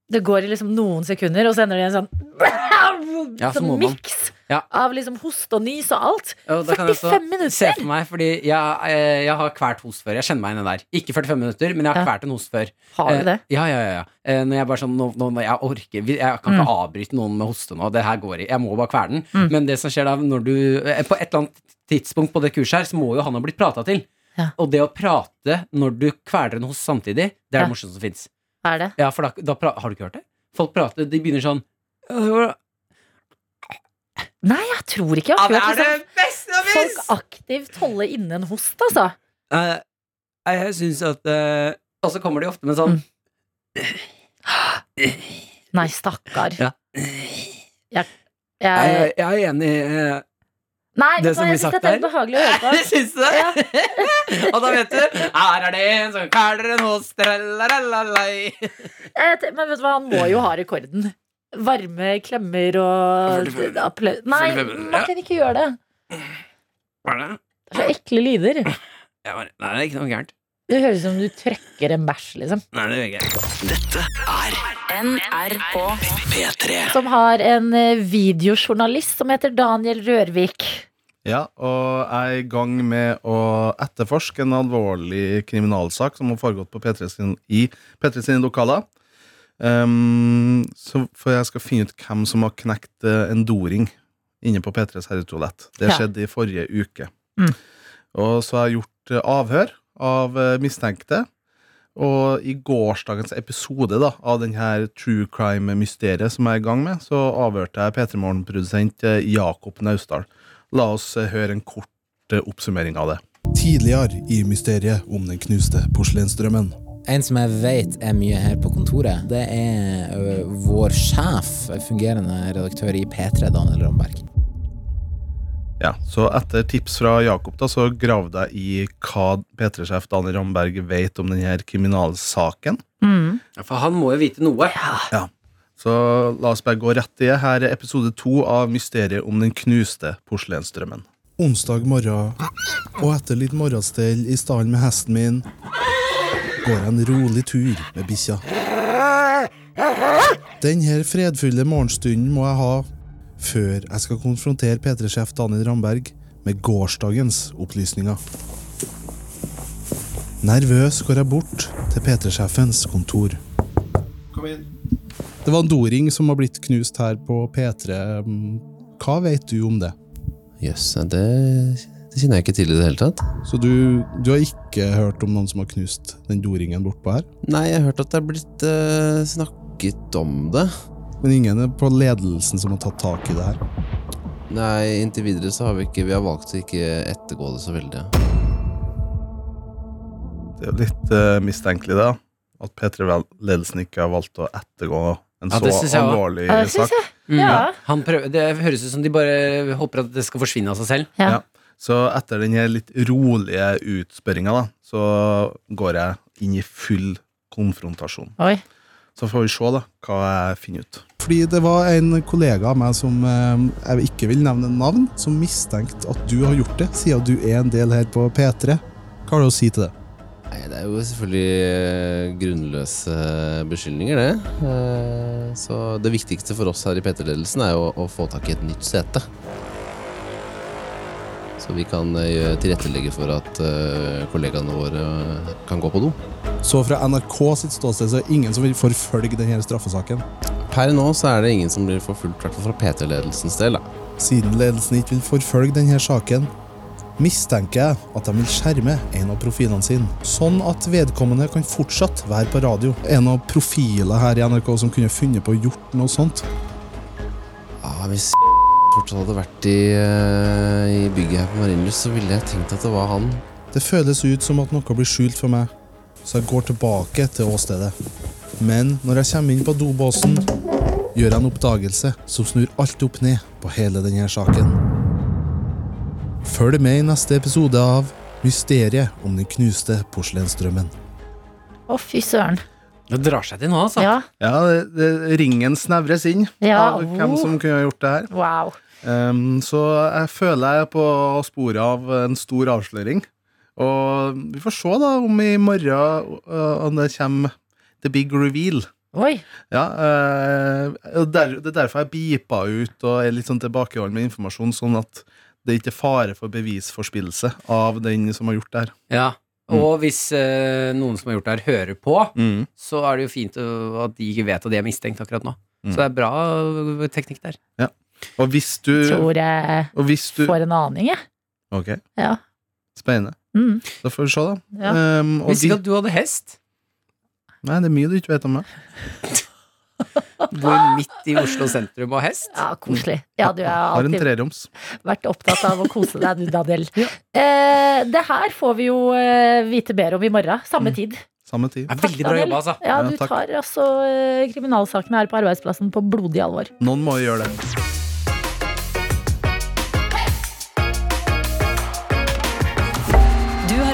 S2: Det går i liksom noen sekunder, og så ender det i en [laughs] sånn
S3: Ja, så
S2: Sånn
S3: må man.
S2: miks
S3: Ja.
S2: av liksom hoste og nys og alt.
S3: Og da kan jeg også
S2: 45
S3: Se
S2: minutter!
S3: for meg, fordi jeg, eh, jeg har kvært host før. Jeg kjenner meg igjen i den der. Ikke 45 minutter, men jeg har
S2: Ja.
S3: kvært en host før.
S2: Har du det?
S3: Eh, ja, ja, ja, ja. Eh, Når jeg bare sånn, nå, nå, nå- jeg orker vi- Jeg kan ikke avbryte noen med hoste nå. Det her går i. Jeg må bare kvele den.
S2: Mm.
S3: Men det som skjer da, når du eh, På et eller annet tidspunkt på det kurset her, så må jo han ha blitt prata til.
S2: Ja.
S3: Og det å prate når du kveler en host samtidig, det er
S2: Ja.
S3: det morsomste som fins.
S2: Er det?
S3: Ja, for da, da pra- Har du ikke hørt det? Folk prater, de begynner sånn ja,
S2: Nei, jeg tror ikke jeg har
S3: Det
S2: hørt
S3: er
S2: liksom,
S3: det beste jeg
S2: folk aktivt holde inne en host, altså.
S3: Eh, jeg syns at eh, Og så kommer de ofte med
S2: Mm.
S3: sånn
S2: Nei, stakkar.
S3: Ja.
S2: Jeg, jeg,
S3: jeg er enig eh, [laughs]
S2: nei, vet
S3: det
S2: du hva,
S3: som blir
S2: jeg syns
S3: sagt
S2: dette er
S3: der.
S2: ubehagelig å høre på.
S3: Jeg [laughs] syns det! og da vet du Her er det en som kveler en host tralalalai.
S2: Jeg te- Men vet du hva, han må jo
S9: [laughs]
S2: ha rekorden. Varme klemmer og applaus. Nei, Martin, ikke gjør det.
S3: Hva er det?
S2: Det er så ekle lyder.
S3: Jeg bare, nei, det er ikke noe gærent.
S2: Det høres ut som du trøkker en bæsj, liksom.
S3: Nei, det er ikke.
S5: NRK P3.
S2: Som har en eh, videojournalist som heter Daniel Rørvik.
S9: Ja, og jeg er i gang med å etterforske en alvorlig kriminalsak som har foregått på P3 sin, i P3 sine lokaler. Ehm, så for jeg skal finne ut hvem som har knekt eh, en doring inne på P3s herretoalett. Det
S2: Ja.
S9: skjedde i forrige uke.
S2: Mm.
S9: Og så har jeg gjort eh, avhør av eh, mistenkte. Og i gårsdagens episode da, av denne true crime-mysteriet som jeg er i gang med, så avhørte jeg P3 Morgen-produsent eh, Jakob Naustdal. La oss eh, høre en kort eh, oppsummering av det. Tidligere i mysteriet om den knuste porselensdrømmen.
S10: En som jeg vet er mye her på kontoret, det er ø, vår sjef, fungerende redaktør i P3, Daniel Ramberg.
S9: Ja, Så etter tips fra Jakob da, så gravde jeg i hva P3-sjef Daniel Ramberg vet om denne kriminalsaken.
S2: Mm.
S3: Ja, For han må jo vite noe.
S9: Så la oss bare gå rett i det. Her er episode to av Mysteriet om den knuste porselensdrømmen. Onsdag morgen, og etter litt morgenstell i stallen med hesten min, går jeg en rolig tur med bikkja. Denne fredfulle morgenstunden må jeg ha før jeg skal konfrontere P3-sjef Daniel Ramberg med gårsdagens opplysninger. Nervøs går jeg bort til P3-sjefens kontor. Det var en doring som har blitt knust her på P3. Hva vet du om det?
S11: Jøss, ja, det, det kjenner jeg ikke til i det hele tatt.
S9: Så du, du har ikke hørt om noen som har knust den doringen bortpå her?
S11: Nei, jeg har hørt at det er blitt eh, snakket om det.
S9: Men ingen er på ledelsen som har tatt tak i det her?
S11: Nei, inntil videre så har vi ikke Vi har valgt å ikke ettergå det så veldig. ja.
S9: Det er jo litt eh, mistenkelig, da. At P3-ledelsen ikke har valgt å ettergå en
S3: Ja,
S9: så
S3: det synes jeg også.
S9: alvorlig
S2: Ja, det Ah, synes
S9: sak.
S2: jeg. Ja.
S3: Mm. Han prøver, det høres ut som de bare håper at det skal forsvinne av seg selv.
S2: Ja.
S9: Ja. Så etter den her litt rolige utspørringa, da, så går jeg inn i full konfrontasjon.
S2: Oi.
S9: Så får vi se da, hva jeg finner ut. Fordi det var en kollega av meg som eh, jeg ikke vil nevne navn, som mistenkte at du har gjort det, siden du er en del her på P3. Hva har du å si til det?
S11: Nei, det er jo selvfølgelig eh, grunnløse beskyldninger, det. Eh, Så det viktigste for oss her i PT-ledelsen er jo å få tak i et nytt sete. Så vi kan eh, gjøre- tilrettelegge for at eh, kollegaene våre eh, kan gå på do.
S9: Så fra NRK sitt ståsted så er det ingen som vil forfølge denne straffesaken.
S11: Per nå så er det ingen som blir forfulgt, i hvert fall fra PT-ledelsens del. da.
S9: Siden ledelsen ikke vil forfølge denne saken, mistenker jeg at de vil skjerme en av profilene sine, sånn at vedkommende kan fortsatt være på radio. En av profilene her i NRK som kunne funnet på å gjort noe sånt.
S11: Ja, hvis fortsatt hadde vært i, eh, i bygget her på Marienlyst, så ville jeg tenkt at det var han.
S9: Det føles ut som at noe blir skjult for meg, så jeg går tilbake til åstedet. Men når jeg kommer inn på dobåsen, gjør jeg en oppdagelse som snur alt opp ned på hele denne saken. Følg med i neste episode av Mysteriet om den knuste porselensdrømmen.
S2: Å, fy søren.
S3: Det drar seg til nå,
S9: Ah.
S3: altså.
S2: Ja.
S9: Ja, det, det, ringen snevres inn
S2: Ja,
S9: av Ah, hvem
S2: oh.
S9: som kunne ha gjort det her.
S2: Wow.
S9: Ehm, så jeg føler jeg er på sporet av en stor avsløring. Og vi får se da om i morgen øh, om det kommer the big reveal.
S2: Oi.
S9: Ja, øh, og der, Det er derfor jeg beepa ut og er litt sånn tilbakeholden med informasjon, sånn at det ikke er fare for bevisforspillelse av den som har gjort det her.
S3: Ja.
S11: Mm.
S3: Og hvis eh, noen som har gjort det her, hører på, så er det jo fint å- at de ikke vet at de er mistenkt akkurat nå.
S9: Mm.
S3: Så det er bra eh, teknikk der.
S9: Og hvis du,
S2: Tror jeg
S9: og hvis du
S2: får en aning, jeg.
S9: Ok,
S2: Ja.
S9: spennende.
S2: Mm.
S9: Da får vi se, da.
S2: Ja.
S9: Ehm, og
S3: Visste
S9: de,
S3: ikke at du hadde hest.
S9: nei, det er mye du ikke vet om meg.
S3: Bor midt i Oslo sentrum og hest.
S2: ja, koselig. Ja, du har
S9: Har en
S2: alltid
S9: treroms.
S2: vært opptatt av å kose deg, du,
S9: [laughs]
S2: Daniel. eh, det her får vi jo eh, vite bedre om i morgen. Samme tid.
S9: Samme tid.
S3: Det er veldig bra
S2: Daniel.
S3: jobba, altså.
S2: Ja,
S9: Mm. Ja,
S2: du
S9: takk.
S2: tar altså eh, kriminalsakene her på arbeidsplassen på blodig alvor.
S9: Noen må jo gjøre det.
S1: Du har